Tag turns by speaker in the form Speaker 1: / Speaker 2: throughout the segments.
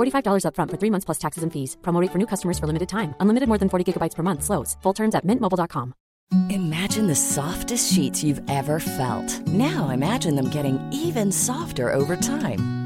Speaker 1: $45 upfront for three months plus taxes and fees. Promo rate for new customers for limited time. Unlimited more than 40 gigabytes per month. Slows. Full terms at mintmobile.com.
Speaker 2: Imagine the softest sheets you've ever felt. Now imagine them getting even softer over time.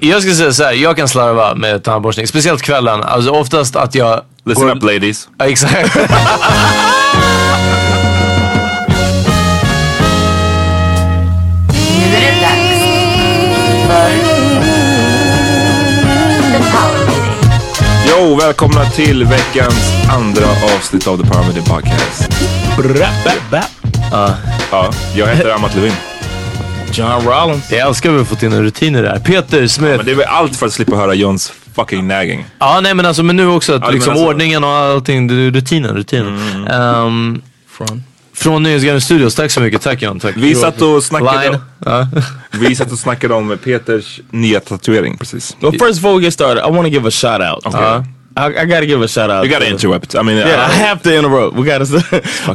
Speaker 3: Jag ska säga så här, jag kan slarva med tandborstning. Speciellt kvällen. Alltså oftast att jag...
Speaker 4: Listen up ladies.
Speaker 3: Ja, exakt.
Speaker 5: Nu är det dags för The Power Meeting.
Speaker 4: Jo, välkomna till veckans andra avsnitt av The Power Meeting Podcast. Ja, jag heter Amat Levin.
Speaker 3: John Rollins. Jag älskar hur vi har fått in en rutin i det här. Peter Smith.
Speaker 4: Men det är väl allt för att slippa höra Johns fucking nagging.
Speaker 3: Ja, nej men alltså men nu också att
Speaker 4: Ja, alltså-
Speaker 3: liksom
Speaker 4: du menar så.
Speaker 3: ordningen och allting, det är rutinen, rutinen.
Speaker 4: Mm.
Speaker 3: Ehm, från Nyhetsgarden Studios, tack så mycket. Tack John, tack.
Speaker 4: Vi satt och snackade
Speaker 3: Line.
Speaker 4: om, vi satt och snackade om Peters nya tatuering precis.
Speaker 6: Well, first before we get started, I want to give a shout out.
Speaker 4: Okay.
Speaker 6: I, I gotta give a shout out.
Speaker 4: You gotta
Speaker 6: to-
Speaker 4: interrupt. I mean,
Speaker 6: Yeah, I
Speaker 4: uh,
Speaker 6: have to interrupt. We gotta.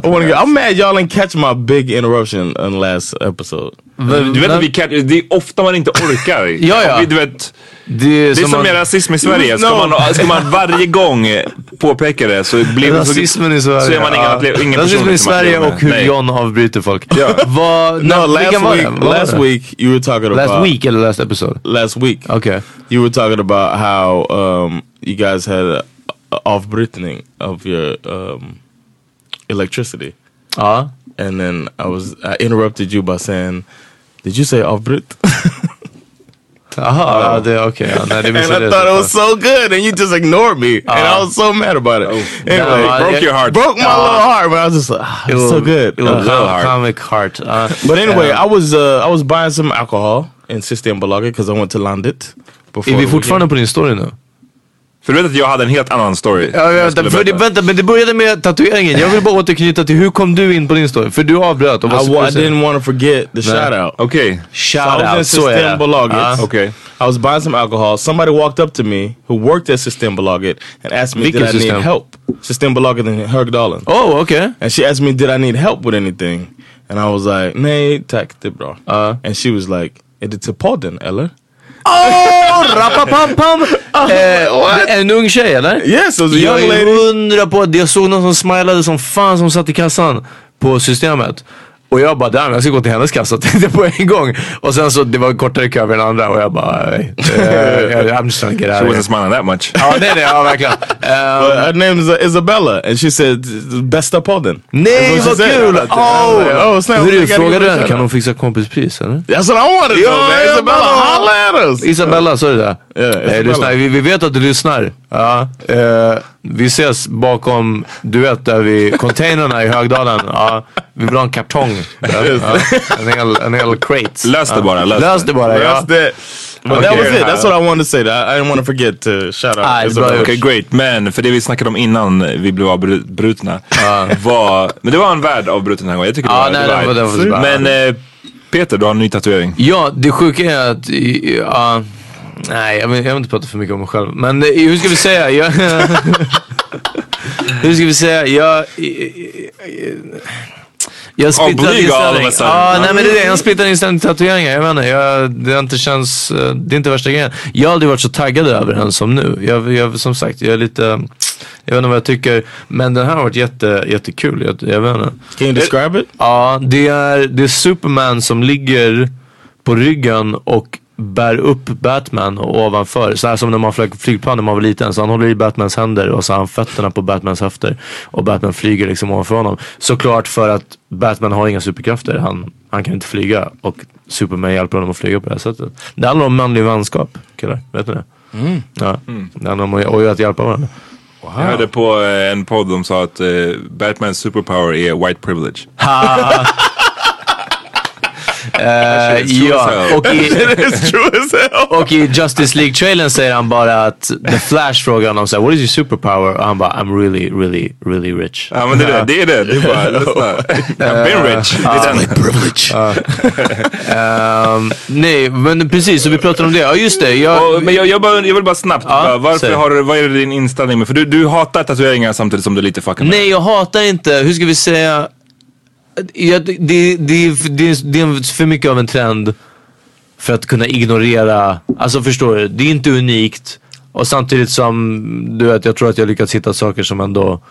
Speaker 6: I want to.
Speaker 4: nuts.
Speaker 6: I'm mad y'all didn't catch my big interruption on last episode.
Speaker 4: uh, du vet att vi kan, det är ofta man inte orkar.
Speaker 3: Ja, ja.
Speaker 4: Vi, du vet,
Speaker 3: Det är
Speaker 4: det är som
Speaker 3: man-
Speaker 4: med rasism i Sverige. Ska,
Speaker 6: No.
Speaker 4: man, ska man varje gång påpeka det så blir det så...
Speaker 3: Rasismen i Sverige.
Speaker 4: så är man ingen
Speaker 3: ja.
Speaker 4: att le- ingen person
Speaker 3: Rasismen i
Speaker 4: liksom att
Speaker 3: Sverige
Speaker 4: leva med.
Speaker 3: och hur
Speaker 4: Nej.
Speaker 3: John avbryter folk.
Speaker 4: Ja.
Speaker 3: Vad,
Speaker 6: No,
Speaker 3: när- vilken var
Speaker 6: last
Speaker 3: det? Vad var det?
Speaker 6: week. Last week you were talking about.
Speaker 3: Last week eller last episode?
Speaker 6: Last week.
Speaker 3: Okej.
Speaker 6: You were talking about how um, you guys had a, a off breathing of your um, electricity,
Speaker 3: Ja.
Speaker 6: and then I was I interrupted you by saying, "Did you say off brit?"
Speaker 3: Jaha, ja, det okej. Ja, nej, det
Speaker 6: and
Speaker 3: missade
Speaker 6: I
Speaker 3: jag.
Speaker 6: thought it was so good, and you just ignored me, and I
Speaker 3: Uh,
Speaker 6: was so mad about it. anyway,
Speaker 3: nah,
Speaker 6: broke
Speaker 3: it-
Speaker 6: your heart, broke my little heart, but I was just like, ah,
Speaker 3: It
Speaker 6: it's
Speaker 3: was-
Speaker 6: so good.
Speaker 3: It was
Speaker 6: Uh,
Speaker 3: com- comic heart. Ja.
Speaker 6: but anyway, I was uh, I was buying some alcohol in Sistan Balaga because I went to Landit. Before
Speaker 3: Är vi
Speaker 6: the
Speaker 3: fortfarande
Speaker 6: weekend.
Speaker 3: på din story nu?
Speaker 4: För du vet att jag hade en helt annan story.
Speaker 3: Ja,
Speaker 4: Jag
Speaker 3: vänta,
Speaker 4: skulle
Speaker 3: för det,
Speaker 4: berätta.
Speaker 3: vänta, men det började med tatueringen. Jag vill bara återknyta till hur kom du in på din story? För du avbröt och vad
Speaker 6: I,
Speaker 3: skulle
Speaker 6: wa- I
Speaker 3: du säga?
Speaker 6: didn't want to forget the shout out.
Speaker 4: Okej.
Speaker 3: Shout out,
Speaker 6: so
Speaker 3: så
Speaker 6: I was
Speaker 3: är
Speaker 6: in Systembolaget.
Speaker 3: det.
Speaker 4: Ah, okay.
Speaker 6: I was buying some alcohol. Somebody walked up to me who worked at Systembolaget and asked me,
Speaker 3: Vilken
Speaker 6: did I
Speaker 3: system?
Speaker 6: need help? Systembolaget in Högdalen.
Speaker 3: Oh, okej.
Speaker 6: And she asked me, did I need help with anything? And I was like, nej tack, det är bra. and she was like, är det till podden eller?
Speaker 3: Åh, rappapampam! Eh, En ung tjej eller?
Speaker 6: Yes, it was a
Speaker 3: Alltså, Jag
Speaker 6: young lady.
Speaker 3: är hundra på att jag såg någon som smilade som fan som satt i kassan på systemet. Och jag bara, damn jag ska gå till hennes kassa tänkte jag på en gång. Och sen så, det var kortare kö vid den andra och jag bara, hey, eh, I'm just trying to get
Speaker 4: She
Speaker 3: out of
Speaker 4: wasn't
Speaker 3: here.
Speaker 4: smiling that much.
Speaker 3: Ja, nej nej, ja verkligen. Eh,
Speaker 6: Uh, her name is uh, Isabella and she said, bästa podden.
Speaker 3: Nej
Speaker 6: That's
Speaker 3: vad
Speaker 6: what she said.
Speaker 3: kul!
Speaker 6: I was like,
Speaker 3: Oh,
Speaker 6: oh, snälla,
Speaker 3: Hur du
Speaker 6: jag kan
Speaker 3: frågade
Speaker 6: inte
Speaker 3: henne,
Speaker 6: köra.
Speaker 3: kan hon fixa kompispris eller?
Speaker 6: That's what I wanted to
Speaker 3: Ja,
Speaker 6: know, man.
Speaker 3: ja,
Speaker 6: Isabella,
Speaker 3: ja.
Speaker 6: holla at us!
Speaker 3: Isabella, sa du det?
Speaker 6: Ja, Isabella.
Speaker 3: Eh, lyssna, vi, vi vet att du lyssnar. Ja, eh, vi ses bakom, du vet där vid containrarna i Högdalen. Ja, vi vill ha en kartong. där. Ja, en, hel, en hel crate.
Speaker 4: Lös det bara, lös
Speaker 3: Lös det bara. Ja.
Speaker 6: That's that. But
Speaker 3: Okay.
Speaker 6: that was it. That's what I wanted to say. That I, I didn't want to forget to shout out.
Speaker 3: Ah, it's
Speaker 6: Isabella.
Speaker 3: about-
Speaker 4: Okej, great. Men för det vi snackade om innan vi blev avbrutna var... Men det var en värld avbruten den här gången. Jag tycker det
Speaker 3: Ja,
Speaker 4: var...
Speaker 3: nej,
Speaker 4: det
Speaker 3: det var- det var- det var-
Speaker 4: men eh, Peter, du har en ny tatuering.
Speaker 3: Ja, det sjuka är att... i- i- ja, nej, jag vill, jag vill inte prata för mycket om mig själv. Men eh, hur ska vi säga? Jag, Hur ska vi säga? Jag... i- i- i- Jag splittrad
Speaker 4: Oblyg av
Speaker 3: inställning.
Speaker 4: en sån-
Speaker 3: Ja, nej men det är det. Jag har splittrad inställning till tatueringar. Jag vet inte. Jag, det har inte känns... eh, Det är inte värsta grejen. Jag har aldrig varit så taggad över den som nu. Jag, jag, som sagt, jag är lite... Jag vet inte vad jag tycker. Men den här har varit jätte, jättekul. Jag, jag vet inte.
Speaker 6: Can you describe it?
Speaker 3: Ja, det är, det är Superman som ligger på ryggen och bär upp Batman ovanför. Så här som när man flög flygplan när man var liten. Så han håller i Batmans händer och så har han fötterna på Batmans höfter. Och Batman flyger liksom ovanför honom. Såklart för att Batman har inga superkrafter. Han, han kan inte flyga och Superman hjälper honom att flyga på det här sättet. Det handlar om manlig vänskap killar. Vet ni det? Ja.
Speaker 4: Mm.
Speaker 3: Det handlar om att, och att hjälpa varandra.
Speaker 4: Jag hörde på eh, en podd, de sa att eh, Batmans superpower är white privilege.
Speaker 3: Eh,
Speaker 4: true
Speaker 3: ja,
Speaker 4: as hell.
Speaker 3: och i, Och i Justice League-trailern säger han bara att The Flash frågar honom såhär, what is your superpower? Och han bara, I'm really, really, really rich.
Speaker 4: Ja men det är det, det är det. Det är bara, lyssna. I've been rich. Det är den.
Speaker 3: privilege. Um, nej, men precis, så vi pratade om det. Ja, just det. Jag,
Speaker 4: Och, men jag, jag, bara, jag vill bara snabbt,
Speaker 3: Ja,
Speaker 4: bara, varför
Speaker 3: säg.
Speaker 4: har, du- vad är din inställning med? För du, du hatar tatueringar samtidigt som du är lite fucking
Speaker 3: nej, jag hatar inte, hur ska vi säga? Jag, det, det, det, det, det är för mycket av en trend för att kunna ignorera, alltså förstår du, det är inte unikt. Och samtidigt som, du vet, jag tror att jag lyckats hitta saker som ändå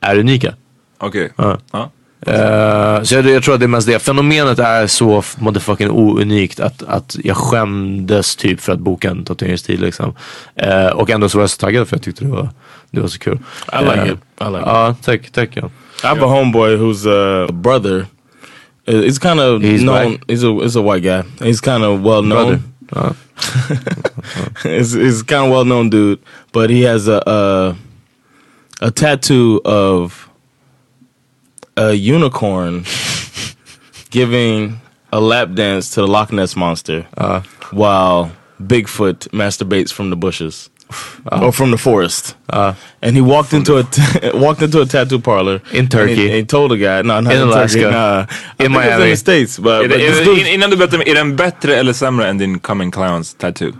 Speaker 3: är unika.
Speaker 4: Okej.
Speaker 3: Ja.
Speaker 4: Ja.
Speaker 3: Eh, så jag, jag tror att det är mest det. Fenomenet är så f- motherfucking ounikt att, att jag skämdes typ för att boka en tatueringstid liksom. Eh, och ändå så var jag så taggad för jag tyckte det var, det var så kul.
Speaker 6: I like
Speaker 3: Eh,
Speaker 6: it. I like it.
Speaker 3: Ja, tack, tack ja.
Speaker 6: I have a homeboy whose uh, brother is kind of
Speaker 3: He's
Speaker 6: known.
Speaker 3: black?
Speaker 6: He's a he's a white guy. He's kind of well
Speaker 3: Brother.
Speaker 6: known. he's he's kind of well known dude, but he has a a, a tattoo of a unicorn giving a lap dance to the Loch Ness monster
Speaker 3: Uh.
Speaker 6: while Bigfoot masturbates from the bushes
Speaker 3: Uh.
Speaker 6: or from the forest. and he walked into a t- walked into a tattoo parlor
Speaker 3: In
Speaker 6: and
Speaker 3: Turkey.
Speaker 6: He, he told a guy, no, not
Speaker 3: In
Speaker 6: in,
Speaker 3: Alaska.
Speaker 6: Turkey, nah. I
Speaker 3: In
Speaker 6: think it was in
Speaker 3: Miami.
Speaker 6: the states, but,
Speaker 4: Är
Speaker 6: but
Speaker 4: det,
Speaker 6: this
Speaker 4: är,
Speaker 6: dude-
Speaker 4: in- innan du berättar, är den bättre eller sämre än din Coming Clowns tattoo?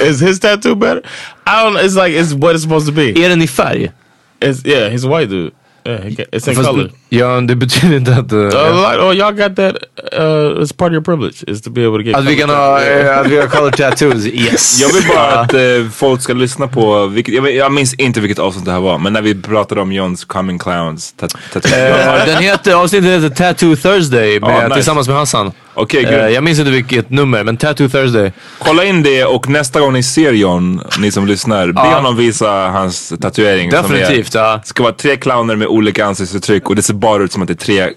Speaker 6: is his tattoo better? I don't. know. It's like it's what it's supposed to be.
Speaker 3: Är den i färg?
Speaker 6: It's yeah, he's a white dude. Yeah, he got, it's in
Speaker 3: Fast-
Speaker 6: color.
Speaker 3: Ja, det betyder inte att... eh,
Speaker 6: Uh, like, oh, y'all got that? Uh, it's part of your privilege is to be able to get.
Speaker 3: att vi
Speaker 6: color
Speaker 3: kan ha,
Speaker 6: tattoo.
Speaker 3: eh, att vi har color tattoos, yes.
Speaker 4: Jag vill bara att eh, folk ska lyssna på, vilket, jag, vet- jag minns inte vilket avsnitt det här var, men när vi pratade om Johns Coming Clowns tat- tattoo.
Speaker 3: Eh, den heter, avsnittet heter Tattoo Thursday med,
Speaker 4: Ja, nice.
Speaker 3: tillsammans med Hassan.
Speaker 4: Okej,
Speaker 3: Eh,
Speaker 4: grymt.
Speaker 3: jag minns inte vilket nummer, men Tattoo Thursday.
Speaker 4: Kolla in det och nästa gång ni ser John, ni som lyssnar, be
Speaker 3: Ja.
Speaker 4: honom visa hans tatuering.
Speaker 3: Definitivt,
Speaker 4: Som är,
Speaker 3: ja.
Speaker 4: ska vara tre clowner med olika ansiktsuttryck och det ser bara ut som att det är tre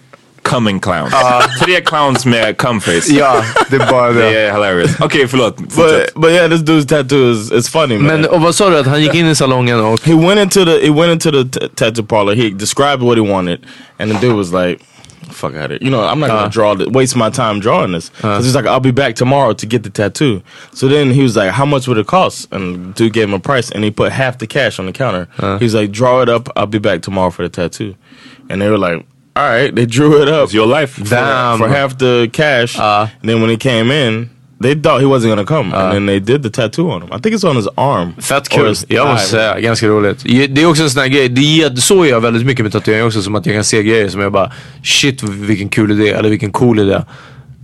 Speaker 4: coming clowns. tre clowns med cum face.
Speaker 3: Ja, det är bara
Speaker 4: Det är hilarious. Okej, förlåt.
Speaker 6: But
Speaker 4: Fortsätt.
Speaker 6: but yeah, this dude's tattoo is it's funny, man.
Speaker 3: Men och vad sa du att han gick in i salongen och...
Speaker 6: he went into the he went into the t- tattoo parlor. He described what he wanted, and the dude was like, "Fuck out of it." You know, I'm not gonna draw this, waste my time drawing this. So he's like, "I'll be back tomorrow to get the tattoo." So then he was like, "How much would it cost?" And the dude gave him a price, and he put half the cash on the counter. He was like, "Draw it up. I'll be back tomorrow for the tattoo." And they were like. All right, they drew it up.
Speaker 4: Your life.
Speaker 6: for,
Speaker 3: Damn.
Speaker 6: for half the cash. and then when he came in, they thought he wasn't gonna come, and then they did the tattoo on him. I think it's on his arm.
Speaker 3: Fett
Speaker 6: Or
Speaker 3: kul.
Speaker 6: his
Speaker 3: Jag måste
Speaker 6: thigh.
Speaker 3: säga, ganska roligt. Ge- Det är också en sån här grej, det ger, så gör jag väldigt mycket med tatueringar också. Som att jag kan se grejer som jag bara, shit vilken kul idé, eller vilken cool idé.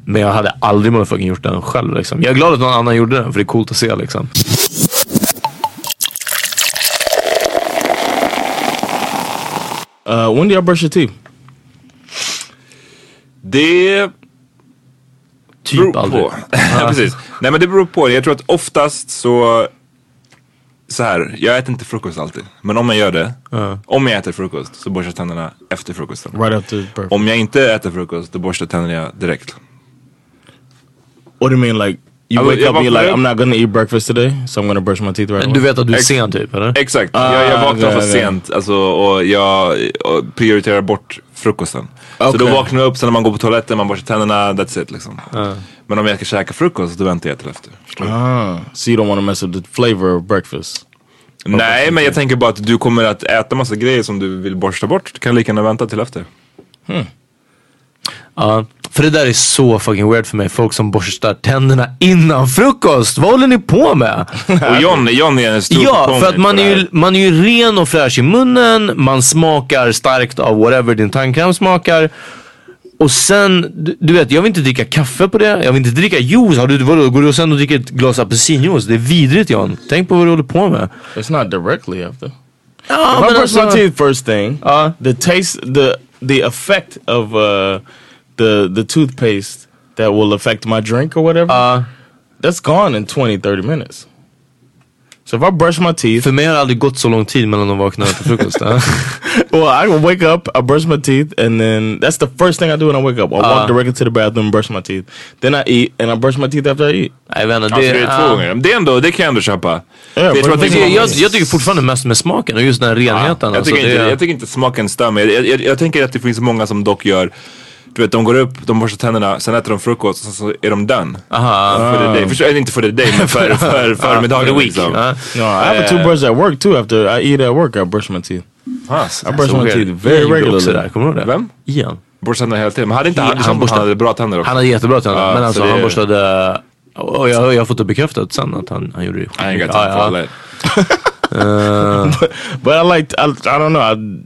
Speaker 3: Men jag hade aldrig motherfucking gjort den själv liksom. Jag är glad att någon annan gjorde den, för det är coolt att se liksom.
Speaker 6: Uh, when do y'all brush your teeth?
Speaker 4: Det beror
Speaker 3: Typ aldrig.
Speaker 4: på. ja, precis. Nej men det beror på. Jag tror att oftast så... Så här, jag äter inte frukost alltid. Men om jag gör det, om jag äter frukost så borstar jag tänderna efter frukosten.
Speaker 6: Right after birth.
Speaker 4: Om jag inte äter frukost då borstar jag tänderna direkt.
Speaker 6: What do you mean, like you
Speaker 4: I
Speaker 6: wake
Speaker 4: would-
Speaker 6: up and you're
Speaker 4: I-
Speaker 6: like, I'm not gonna eat breakfast today, so I'm gonna brush my teeth right
Speaker 3: Men
Speaker 6: away.
Speaker 3: du vet att du är
Speaker 4: Ex-
Speaker 3: sen typ, eller?
Speaker 4: Exakt, jag, jag
Speaker 6: Ah,
Speaker 4: vaknar
Speaker 6: det-
Speaker 4: för
Speaker 6: det.
Speaker 4: sent alltså, och jag och prioriterar bort frukosten. Så då
Speaker 6: Okej.
Speaker 4: vaknar jag upp, sen när man går på toaletten, man borstar tänderna, that's it liksom. Men om jag ska käka frukost då väntar jag till efter. Förstår du?
Speaker 6: Ah, so you don't want to mess up the flavor of breakfast.
Speaker 4: Nej, men jag tänker bara att du kommer att äta massa grejer som du vill borsta bort. Du kan lika gärna vänta till efter.
Speaker 3: Ja. För det där är så fucking weird för mig. Folk som borstar tänderna innan frukost. Vad håller ni på med?
Speaker 4: Och John, John är en stor
Speaker 3: Ja,
Speaker 4: proponent
Speaker 3: för att man
Speaker 4: på det
Speaker 3: är,
Speaker 4: här.
Speaker 3: ju, man är ju ren och fräsch i munnen. Man smakar starkt av whatever din tandkräm smakar. Och sen, du, du vet, jag vill inte dricka kaffe på det. Jag vill inte dricka juice. Har du, vadå, går du och sen och dricker ett glas apelsinjuice? Det är vidrigt John. Tänk på vad du håller på med.
Speaker 6: It's not directly after.
Speaker 3: Ja,
Speaker 6: if I
Speaker 3: men
Speaker 6: brush my
Speaker 3: alltså-
Speaker 6: teeth first thing,
Speaker 3: Uh.
Speaker 4: Uh-huh.
Speaker 6: the taste, the the effect of uh, the the toothpaste that will affect my drink or whatever,
Speaker 4: Uh-huh.
Speaker 6: that's gone in 20, 30 minutes. So if I brush my teeth,
Speaker 3: För mig har det aldrig gått så lång tid mellan de vaknar till frukost. eh. ja.
Speaker 6: well, I will wake up, I brush my teeth, and then that's the first thing I do when I wake up. I walk directly to the bathroom, brush my teeth, then I eat, and I brush my teeth after I eat.
Speaker 3: Nej vänner,
Speaker 4: Alltså, det
Speaker 3: det,
Speaker 4: är två gånger. Men Det är ändå, det kan jag ändå köpa.
Speaker 6: Ja,
Speaker 4: Det tror
Speaker 6: men-
Speaker 4: jag
Speaker 3: jag, jag,
Speaker 4: Yes.
Speaker 3: jag tycker fortfarande mest med smaken och just den här renheten.
Speaker 4: jag,
Speaker 3: alltså,
Speaker 4: tycker
Speaker 3: det,
Speaker 4: inte, jag tycker inte smaken stämmer. Jag, jag, jag tänker att det finns många som dock gör, du vet de går upp, de borstar tänderna, sen äter de frukost och sen så är de done. Aha. For the day. Förstår, eller inte för the day men för, för, för förmiddagen liksom.
Speaker 3: ja.
Speaker 6: No, I uh, have a toothbrush at work too. After I eat at work, I brush my teeth.
Speaker 4: Ah,
Speaker 6: I brush
Speaker 3: Så
Speaker 6: my
Speaker 3: weird.
Speaker 6: teeth
Speaker 3: Jag
Speaker 6: very
Speaker 3: gjorde typ också det
Speaker 6: regularly.
Speaker 3: där, kommer du ihåg det?
Speaker 4: Vem?
Speaker 3: Ian.
Speaker 4: Borstar tänderna hela tiden. Men hade inte
Speaker 3: He-
Speaker 4: Andersson,
Speaker 3: han
Speaker 4: han,
Speaker 3: borstar-
Speaker 4: hade bra tänder också?
Speaker 3: Han hade jättebra tänder,
Speaker 4: Ja,
Speaker 3: men
Speaker 4: så
Speaker 3: alltså
Speaker 4: det-
Speaker 3: han borstade... Och jag, jag har fått det bekräftat sen att han, han gjorde det
Speaker 4: I ain't got
Speaker 3: Ja,
Speaker 4: time for
Speaker 3: ja.
Speaker 4: all that.
Speaker 6: But I liked. I, I don't know. I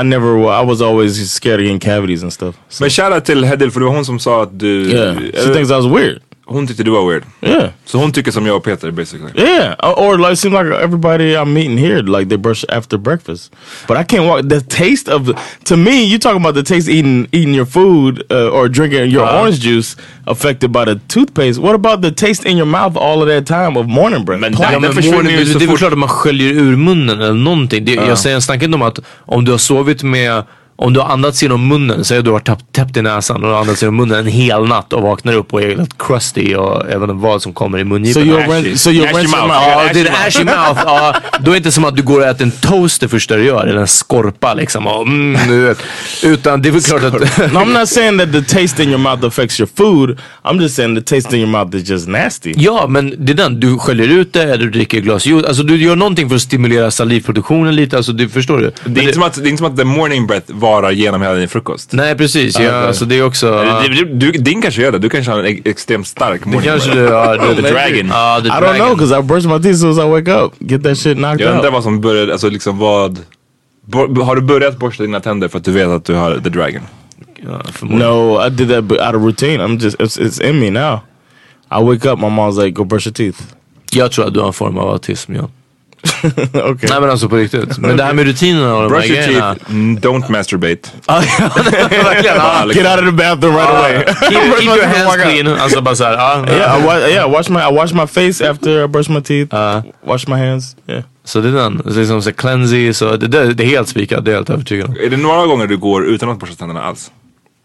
Speaker 6: I never. wa- I was always scared of getting cavities and stuff. So,
Speaker 4: Men shoutout till Hedil för det var hon som sa att du...
Speaker 6: yeah, she
Speaker 4: eller,
Speaker 6: thinks I was weird.
Speaker 4: hon tyckte du var weird.
Speaker 6: Yeah,
Speaker 4: Så hon tycker som jag och Peter basically.
Speaker 6: yeah. Or- Or like, seems like everybody I'm meeting here like they brush after breakfast. But I can't walk. The taste of to me, you talking about the taste eating eating your food uh, or drinking your orange juice affected by the toothpaste. What about the taste in your mouth all of that time of morning breath?
Speaker 4: Men
Speaker 3: Ja,
Speaker 4: den-
Speaker 6: Plaque.
Speaker 3: men
Speaker 4: den försvinner
Speaker 3: morning,
Speaker 4: ju
Speaker 3: det,
Speaker 4: så
Speaker 3: det är väl
Speaker 4: fort.
Speaker 3: klart att man sköljer ur munnen eller någonting. Det, Jag säger, jag snackar inte om att om du har sovit med, om du har andats genom munnen, säg att du har tapp, täppt i näsan och andats genom munnen en hel natt och vaknar upp och är helt crusty och även vad som kommer i
Speaker 6: so
Speaker 3: mungipan.
Speaker 6: you'll
Speaker 4: Ashy.
Speaker 6: rinse. So you'll
Speaker 4: Ashy
Speaker 6: rinse your
Speaker 4: mouth.
Speaker 6: mouth.
Speaker 3: Ja,
Speaker 4: ashy
Speaker 3: det är en ashy mouth. Ja, då är det inte som att du går och äter en toast det första du gör, eller en skorpa liksom. Och, mm, du vet. Utan det är väl klart att...
Speaker 6: No, I'm not saying that the taste in your mouth affects your food. I'm just saying the taste in your mouth is just nasty.
Speaker 3: Ja, men det är den. Du sköljer ut det, eller du dricker ett glas juice. Alltså du gör någonting för att stimulera salivproduktionen lite. Alltså du förstår du? Men
Speaker 4: Det är, inte som att, det är inte som att the morning breath varar genom hela din frukost.
Speaker 3: Nej, precis. Ja, alltså det är också...
Speaker 4: Du- du- du- Din kanske gör det, du kanske har en ex- extremt stark morning
Speaker 3: Kanske
Speaker 4: breath.
Speaker 3: du har...
Speaker 4: The dragon.
Speaker 3: Ja, the
Speaker 6: I don't know
Speaker 3: dragon.
Speaker 6: because I brush my teeth as soon as I wake up. Get that shit knocked
Speaker 4: Jag undrar
Speaker 6: out.
Speaker 4: vad som började, alltså liksom vad... Bo, har du börjat borsta dina tänder för att du vet att du har the dragon?
Speaker 3: Ja, förmodligen.
Speaker 6: No, I did that but out of routine. I'm just it's, it's in me now. I wake up, my mom's like, "Go brush your teeth."
Speaker 3: Jag tror att du har en form av autism, ja.
Speaker 6: Okay.
Speaker 3: Nej men alltså på riktigt. Men det här med rutinerna och de här
Speaker 4: Brush your
Speaker 3: grejerna.
Speaker 4: teeth, mm, don't masturbate.
Speaker 3: Ja, ja, verkligen. ja.
Speaker 6: Get out of the bathroom right away.
Speaker 3: Keep,
Speaker 6: Brush
Speaker 3: keep
Speaker 6: my
Speaker 3: your
Speaker 6: teeth and
Speaker 3: hands
Speaker 6: walk out.
Speaker 3: clean. Alltså bara såhär, ja.
Speaker 6: Yeah, I wash, yeah. I Wash my I wash my face after I brush my teeth. wash my hands. Uh-huh. Yeah.
Speaker 3: Så det är den. Så Liksom så cleansy, så det, det, det är helt spikat, det är jag helt övertygad om.
Speaker 4: Är det några gånger du går utan att borsta tänderna alls?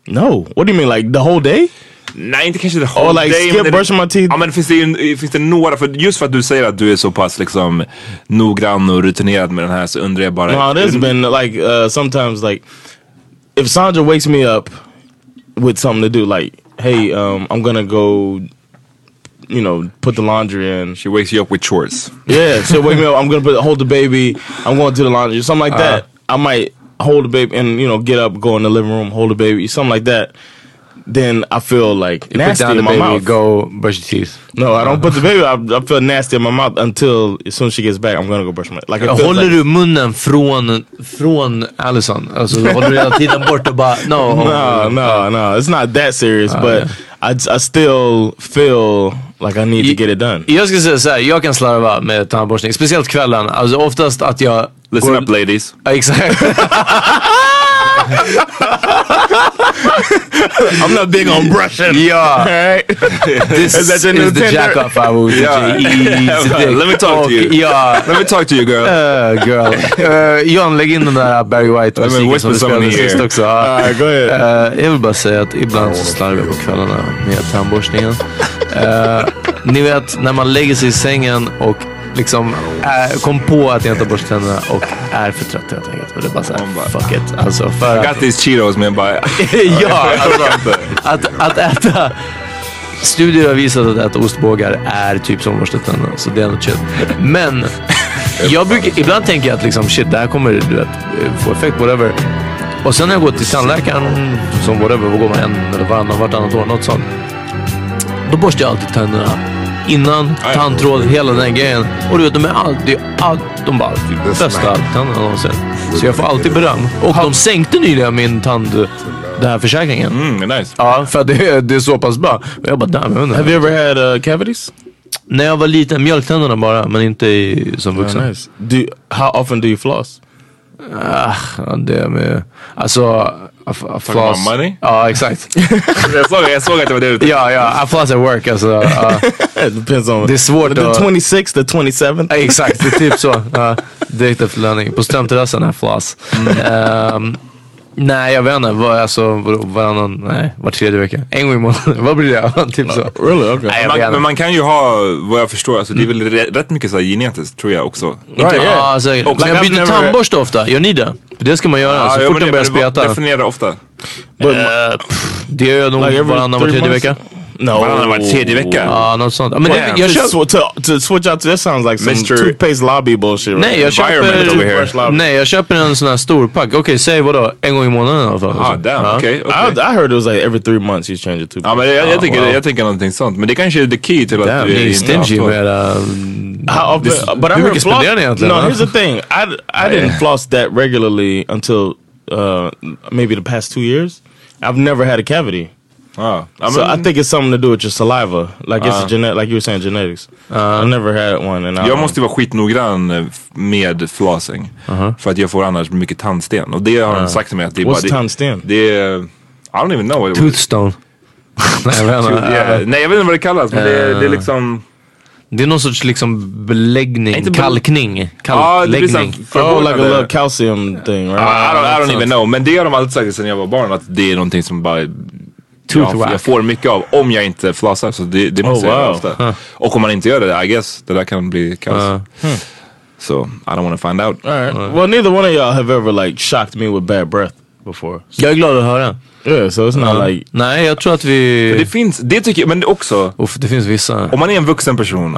Speaker 6: No. What do you mean? Like the whole day?
Speaker 4: Nej inte kanske the
Speaker 3: Oh,
Speaker 4: whole
Speaker 6: like
Speaker 4: day.
Speaker 6: skip
Speaker 4: men det-
Speaker 6: brushing my teeth?
Speaker 4: Ja men finns det, ju- finns det några, för just för att du säger att du är så pass liksom noggrann och rutinerad med den här så undrar jag bara.
Speaker 6: No, there's been like uh, sometimes like if Sandra wakes me up with something to do, like, hey, um, I'm gonna go, you know, put the laundry in.
Speaker 4: She wakes you up with chores.
Speaker 6: Yeah, she'll wake me up. I'm gonna put, hold the baby. I'm going to the laundry, something like that.
Speaker 3: Uh-huh.
Speaker 6: I might hold the baby and you know get up, go in the living room, hold the baby, something like that. Then I feel like
Speaker 3: Put
Speaker 6: nasty
Speaker 3: down
Speaker 6: in
Speaker 3: the
Speaker 6: my
Speaker 3: baby,
Speaker 6: mouth.
Speaker 3: go Uh-huh. brush your teeth.
Speaker 6: No, I don't put the baby. I, I feel nasty in my mouth until as soon as she gets back, I'm gonna go brush my like. I feel
Speaker 3: Håller
Speaker 6: like,
Speaker 3: du munnen från, från Allison? Alltså håller du hela tiden bort och bara no.
Speaker 6: No, no, no. It's not that serious,
Speaker 3: Uh-huh.
Speaker 6: but I, I still feel like I need to get it done.
Speaker 3: Jag skulle säga såhär, jag kan slarva med tandborstning. Speciellt kvällen. Alltså oftast att jag...
Speaker 4: Listen
Speaker 3: går-
Speaker 4: up ladies.
Speaker 3: Ja, Exakt.
Speaker 6: I'm not big on brushing.
Speaker 3: ja.
Speaker 6: Alright.
Speaker 3: This
Speaker 6: Is that your new
Speaker 3: is the
Speaker 6: Tinder?
Speaker 3: jack up I will
Speaker 4: Ja. Let me talk to you.
Speaker 3: Ja.
Speaker 4: Let me talk to you girl.
Speaker 3: Uh, girl. Uh, John, lägg in den där Barry
Speaker 4: men
Speaker 3: White-musiken som
Speaker 4: whisper
Speaker 3: du spelade
Speaker 4: something in Ah.
Speaker 3: sist
Speaker 4: here.
Speaker 3: också. Ja.
Speaker 6: Alright, go ahead.
Speaker 3: Eh, jag vill bara säga att ibland så slarvar jag på kvällarna med tandborstningen. Eh, ni vet när man lägger sig i sängen och liksom eh, kom på att jag inte har borstat tänderna och är för trött helt enkelt. Och det är bara såhär,
Speaker 4: Man bara,
Speaker 3: fuck it. Alltså för
Speaker 4: Got these cheetos men bara.
Speaker 3: ja, alltså, att, att äta... Studier har visat att äta ostbågar är typ som att borsta tänderna, så det är något shit. Men jag brukar, ibland tänker jag att liksom, shit, det här kommer du vet, få effekt, whatever. Och sen har jag gått till tandläkaren, som whatever, vad går man en eller varannan, vartannat år, något sånt. Då borstar jag alltid tänderna. Innan,
Speaker 4: ja.
Speaker 3: tandtråd, hela den grejen. Och du vet, de är alltid, allt, de bara bästa tänderna någonsin. Så jag får alltid beröm. Och de sänkte nyligen min tand, den här försäkringen.
Speaker 4: Mm, nice.
Speaker 3: Ja, för att det, är- det är så pass bra. Och jag bara, damn, jag undrar.
Speaker 6: Have you ever had uh, cavities?
Speaker 3: När jag var liten, mjölktänderna bara, men inte i, som vuxen.
Speaker 6: nice. Do you- how often do you floss?
Speaker 3: Ah, Ja, det med... Alltså... Af- af-
Speaker 4: about
Speaker 3: floss-
Speaker 4: money?
Speaker 3: Ja, exakt.
Speaker 4: jag, såg, jag såg att det var det ute.
Speaker 3: ja, ja. I floss at work alltså. ja.
Speaker 6: It depends on.
Speaker 3: Det är svårt
Speaker 6: The
Speaker 3: att...
Speaker 6: 26th, the 27th.
Speaker 3: Ja, exakt, det är typ så. Ja, direkt efter löning. På Strömterrassen, här floss.
Speaker 6: Mm.
Speaker 3: Ehm, nej, jag vet inte. Var, alltså, var, varannan... Nej, var tredje vecka. En gång i månaden. Vad blir det? typ så.
Speaker 6: Really? Okay.
Speaker 3: Nej, jag
Speaker 4: Man,
Speaker 3: vet
Speaker 4: men
Speaker 3: inte.
Speaker 4: man kan ju ha, vad jag förstår, alltså, det är väl re- rätt mycket så här genetiskt tror jag också.
Speaker 3: Inte-
Speaker 6: yeah.
Speaker 3: Ja, säkert.
Speaker 4: Och-
Speaker 3: Men jag Alltså,
Speaker 4: Like, I've
Speaker 3: byter
Speaker 4: never-
Speaker 3: tandborste ofta. Gör ni det? För det ska man göra. Alltså, så
Speaker 4: ja,
Speaker 3: fort
Speaker 4: men
Speaker 3: den
Speaker 4: det-
Speaker 3: börjar
Speaker 4: men det-
Speaker 3: speta. Eh,
Speaker 4: Definiera ofta.
Speaker 6: But
Speaker 3: Det gör jag nog
Speaker 6: like every
Speaker 3: varannan, var
Speaker 6: three
Speaker 3: tredje
Speaker 6: months?
Speaker 3: vecka.
Speaker 6: No.
Speaker 4: Varannan var tredje vecka.
Speaker 3: Ja, något sånt. Ja, Men det,
Speaker 4: Damn.
Speaker 3: jag
Speaker 6: To,
Speaker 3: kör...
Speaker 6: sw- to, to switch out to that sounds like some
Speaker 4: Mr.
Speaker 6: toothpaste lobby bullshit.
Speaker 3: Nej jag,
Speaker 4: Environment over here.
Speaker 3: köper, nej, jag köper en sån här stor pack. Okej, säg vadå? En gång i månaden i alla fall.
Speaker 4: Ah, damn,
Speaker 3: Ja.
Speaker 4: okej. okej.
Speaker 6: I, I heard it was like every three months you change your toothpaste.
Speaker 4: Ja, men jag, jag, tycker,
Speaker 3: wow.
Speaker 4: jag tycker någonting sånt. Men det kanske är the key till att
Speaker 3: Damn,
Speaker 4: du
Speaker 3: ni är
Speaker 4: inte
Speaker 3: stingy
Speaker 4: avstår.
Speaker 3: med era...
Speaker 6: How often?
Speaker 3: This-
Speaker 6: but I
Speaker 3: hur
Speaker 6: heard
Speaker 3: mycket
Speaker 6: floss.
Speaker 3: spenderar ni egentligen,
Speaker 6: No,
Speaker 3: va?
Speaker 6: here's the thing. I, I didn't floss that regularly until uh, maybe the past two years. I've never had a cavity,
Speaker 4: Ja. Ja,
Speaker 6: so I Uh.
Speaker 4: men,
Speaker 6: think it's something to do with your saliva. Like it's a genet, like you were saying, genetics. I've never had one, and I
Speaker 4: jag måste vara skitnoggrann eh, f- med flossing.
Speaker 3: Uh-huh.
Speaker 4: För att jag får annars mycket tandsten. Och det har
Speaker 3: Ah.
Speaker 4: de sagt till mig att det är
Speaker 6: What's
Speaker 4: bara...
Speaker 6: tandsten?
Speaker 4: Det, det är... I don't even know what it was.
Speaker 3: Toothstone. nej, jag vet
Speaker 4: Tooth-
Speaker 3: inte.
Speaker 4: yeah. Nej, jag vet inte vad det kallas. Men det, är- det är liksom...
Speaker 3: Det är någon sorts liksom beläggning,
Speaker 4: Inte bel-
Speaker 3: kalkning.
Speaker 4: Ja, det blir så
Speaker 3: Kalkläggning.
Speaker 4: här
Speaker 6: oh, like a
Speaker 4: förvånande-
Speaker 6: little calcium thing, right?
Speaker 4: I don't, I don't even know. Men det har de alltid sagt sedan jag var barn att det är någonting som bara jag,
Speaker 3: Toothwack.
Speaker 4: jag får mycket av om jag inte flossar. Så det, det måste
Speaker 6: Oh,
Speaker 4: jag göra
Speaker 6: wow.
Speaker 4: ofta. Och om man inte gör det, I guess det där kan bli kaos. hmm. So I don't want to find out.
Speaker 6: All right. Well, neither one of y'all have ever like shocked me with bad breath before. Uh-huh.
Speaker 3: Jag är glad att höra.
Speaker 6: Yeah, so it's not like
Speaker 3: Nej, jag tror att
Speaker 4: Men Det
Speaker 3: vi...
Speaker 4: finns, det tycker jag, men också
Speaker 3: Uff, det finns vissa.
Speaker 4: om man är en vuxen person.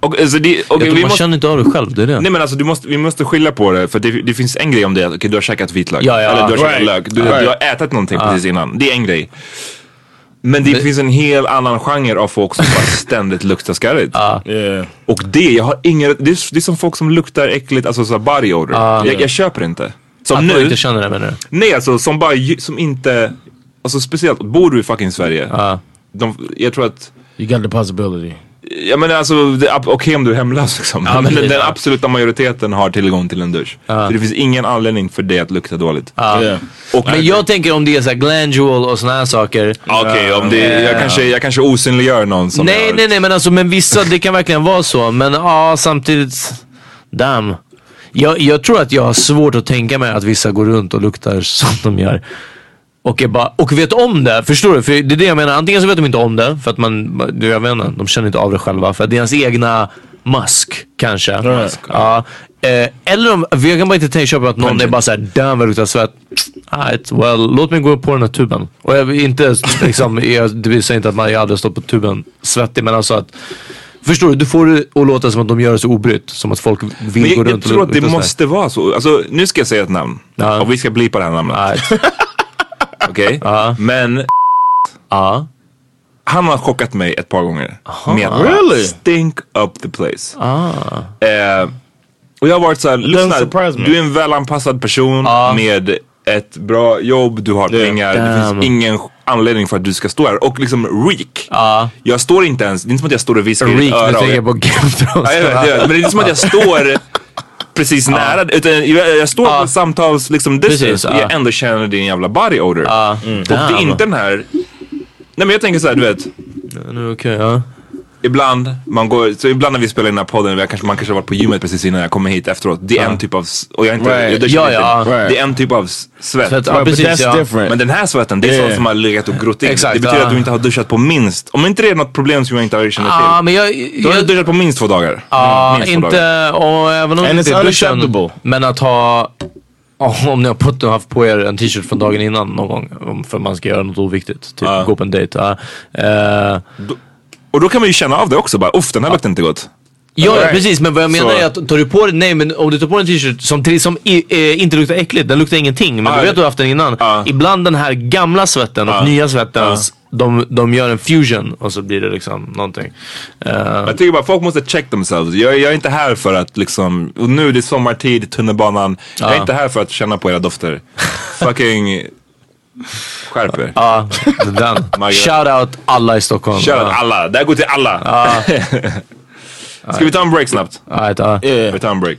Speaker 4: Och, alltså, det, och
Speaker 3: Jag
Speaker 4: vi
Speaker 3: tror man
Speaker 4: måste,
Speaker 3: känner inte av det själv, det är det.
Speaker 4: Nej men alltså du måste, vi måste skilja på det för det, det finns en grej om det att okej, du har käkat vitlök.
Speaker 3: Ja, ja.
Speaker 4: eller du har käkat
Speaker 6: Right.
Speaker 4: lök. Du, du har ätit någonting precis innan. Det är en grej. Men det finns en hel annan genre av folk som bara ständigt luktar skarrigt.
Speaker 6: yeah.
Speaker 4: Och det, jag har ingen, det är, det är som folk som luktar äckligt, alltså såhär body odor. jag, jag köper inte. Som
Speaker 3: Att man
Speaker 4: nu,
Speaker 3: inte känner det menar du?
Speaker 4: nej alltså som bara, ju- som inte, alltså speciellt, bor du i fucking Sverige. De, jag tror att,
Speaker 6: You got the possibility.
Speaker 4: jag menar alltså, det är ab- okej om du är hemlös liksom. men
Speaker 3: precis,
Speaker 4: den, den
Speaker 3: ja.
Speaker 4: absoluta majoriteten har tillgång till en dusch. Så det finns ingen anledning för dig att lukta dåligt.
Speaker 6: yeah.
Speaker 4: Och,
Speaker 3: Men jag tänker om det är såhär glandual och såna här saker.
Speaker 4: Okej, om det, jag, kanske, jag kanske osynliggör någon som
Speaker 3: nej,
Speaker 4: jag,
Speaker 3: nej, nej, men alltså men vissa, det kan verkligen vara så. Men ja, samtidigt, damn. Jag, jag tror att jag har svårt att tänka mig att vissa går runt och luktar som de gör. Och, är bara, och vet om det, förstår du? För det är det jag menar. Antingen så vet de inte om det, för att man, du, jag vet inte, de känner inte av det själva. För att det är ens egna mask, kanske.
Speaker 6: Mask,
Speaker 3: ja. Eh, eller om, för jag kan bara inte tänka köpa att någon är bara såhär, damn vad det luktar svett. Alright, well, låt mig gå på den här tuben. Och jag vill inte, liksom, jag, det vill säga inte att man, jag aldrig stått på tuben svettig, men alltså att Förstår du? Du får det att låta som att de gör det så obrytt. Som att folk vill
Speaker 4: Men
Speaker 3: gå
Speaker 4: jag, jag
Speaker 3: runt och
Speaker 4: tror att det
Speaker 3: lukta svett.
Speaker 4: måste vara så. Alltså, nu ska jag säga ett namn.
Speaker 3: Ja.
Speaker 4: Och vi ska blipa det här namnet.
Speaker 3: Alright.
Speaker 4: Okej? Men
Speaker 3: Ja.
Speaker 4: han har chockat mig ett par gånger. Med att
Speaker 6: Really?
Speaker 4: stink up the place.
Speaker 3: Ah.
Speaker 4: Eh, och jag har varit såhär, lyssna,
Speaker 6: surprise me.
Speaker 4: du är en välanpassad person
Speaker 3: Ah.
Speaker 4: med ett bra jobb, du har
Speaker 6: Yeah.
Speaker 4: pengar, det
Speaker 3: Damn.
Speaker 4: finns ingen anledning för att du ska stå här. Och liksom reek. Jag står inte ens, det är inte som att jag står och viskar i ditt
Speaker 3: Ah. Reek,
Speaker 4: öra.
Speaker 3: nu
Speaker 4: och-
Speaker 3: tänker jag på Game of Thrones.
Speaker 4: Ja, jag vet, jag vet. Men det är inte som att jag står precis nära. Utan jag, jag står på samtals liksom distance
Speaker 3: Ah. Precis,
Speaker 4: och jag
Speaker 3: ja.
Speaker 4: ändå känner din jävla body odor. Och det är
Speaker 3: Damn.
Speaker 4: inte den här... Nej men jag tänker så här, du vet.
Speaker 3: Ah, Nu, okej, ja.
Speaker 4: Ibland, man går, så ibland när vi spelar in den här podden, jag kanske, man kanske har varit på gymmet precis innan jag kommer hit efteråt. Det är en typ av, s- och jag är inte,
Speaker 6: Right.
Speaker 4: jag duschar
Speaker 3: Ja,
Speaker 4: inte.
Speaker 3: ja.
Speaker 4: det är en typ av s- svett.
Speaker 3: Svett, ja,
Speaker 6: Right, Oh, but
Speaker 3: precis,
Speaker 6: that's
Speaker 3: ja.
Speaker 6: different.
Speaker 4: Men den här svetten, det är
Speaker 6: Yeah.
Speaker 4: sånt som har legat och grott in.
Speaker 3: Exakt,
Speaker 4: det betyder
Speaker 3: ja.
Speaker 4: att du inte har duschat på minst, om inte det är något problem som jag inte känner till.
Speaker 3: Ja, men jag...
Speaker 4: då har du
Speaker 3: jag
Speaker 4: duschat på minst två dagar. Mm,
Speaker 3: ja,
Speaker 4: Minst två dagar.
Speaker 3: inte... Och även om
Speaker 6: And
Speaker 3: det
Speaker 6: it's
Speaker 3: inte är duschen.
Speaker 6: unacceptable.
Speaker 3: Men att ha... ja, Om ni har på, haft på er en t-shirt från dagen innan någon gång. om- För man ska göra något oviktigt. Typ
Speaker 4: Ja.
Speaker 3: gå på en dejt. ja. Eh,
Speaker 4: Och då kan man ju känna av det också bara, uff den här luktar inte gott.
Speaker 3: Ja,
Speaker 4: Right.
Speaker 3: precis. Men vad jag menar
Speaker 4: Så-
Speaker 3: är att tar du på dig, nej men om du tar på dig en t-shirt som, till- som i, eh, inte luktar äckligt, den luktar ingenting. Men
Speaker 4: Ja.
Speaker 3: du vet att du har haft den innan.
Speaker 4: Ja.
Speaker 3: Ibland den här gamla svetten och
Speaker 4: Ja.
Speaker 3: nya svetten,
Speaker 4: Ja.
Speaker 3: de, de gör en fusion och så blir det liksom någonting. Eh,
Speaker 4: Jag tycker bara folk måste check themselves. Jag, jag är inte här för att liksom, och nu det är sommartid, tunnelbanan. Jag är
Speaker 3: Ja.
Speaker 4: inte här för att känna på era dofter. Fucking skärp er.
Speaker 3: Ja, det är Eh, den.
Speaker 4: God.
Speaker 3: Shout out alla i Stockholm.
Speaker 4: Kör alla, det här går till alla. Ska vi ta en break snabbt?
Speaker 3: Ja, ett, ja.
Speaker 4: Vi tar en break.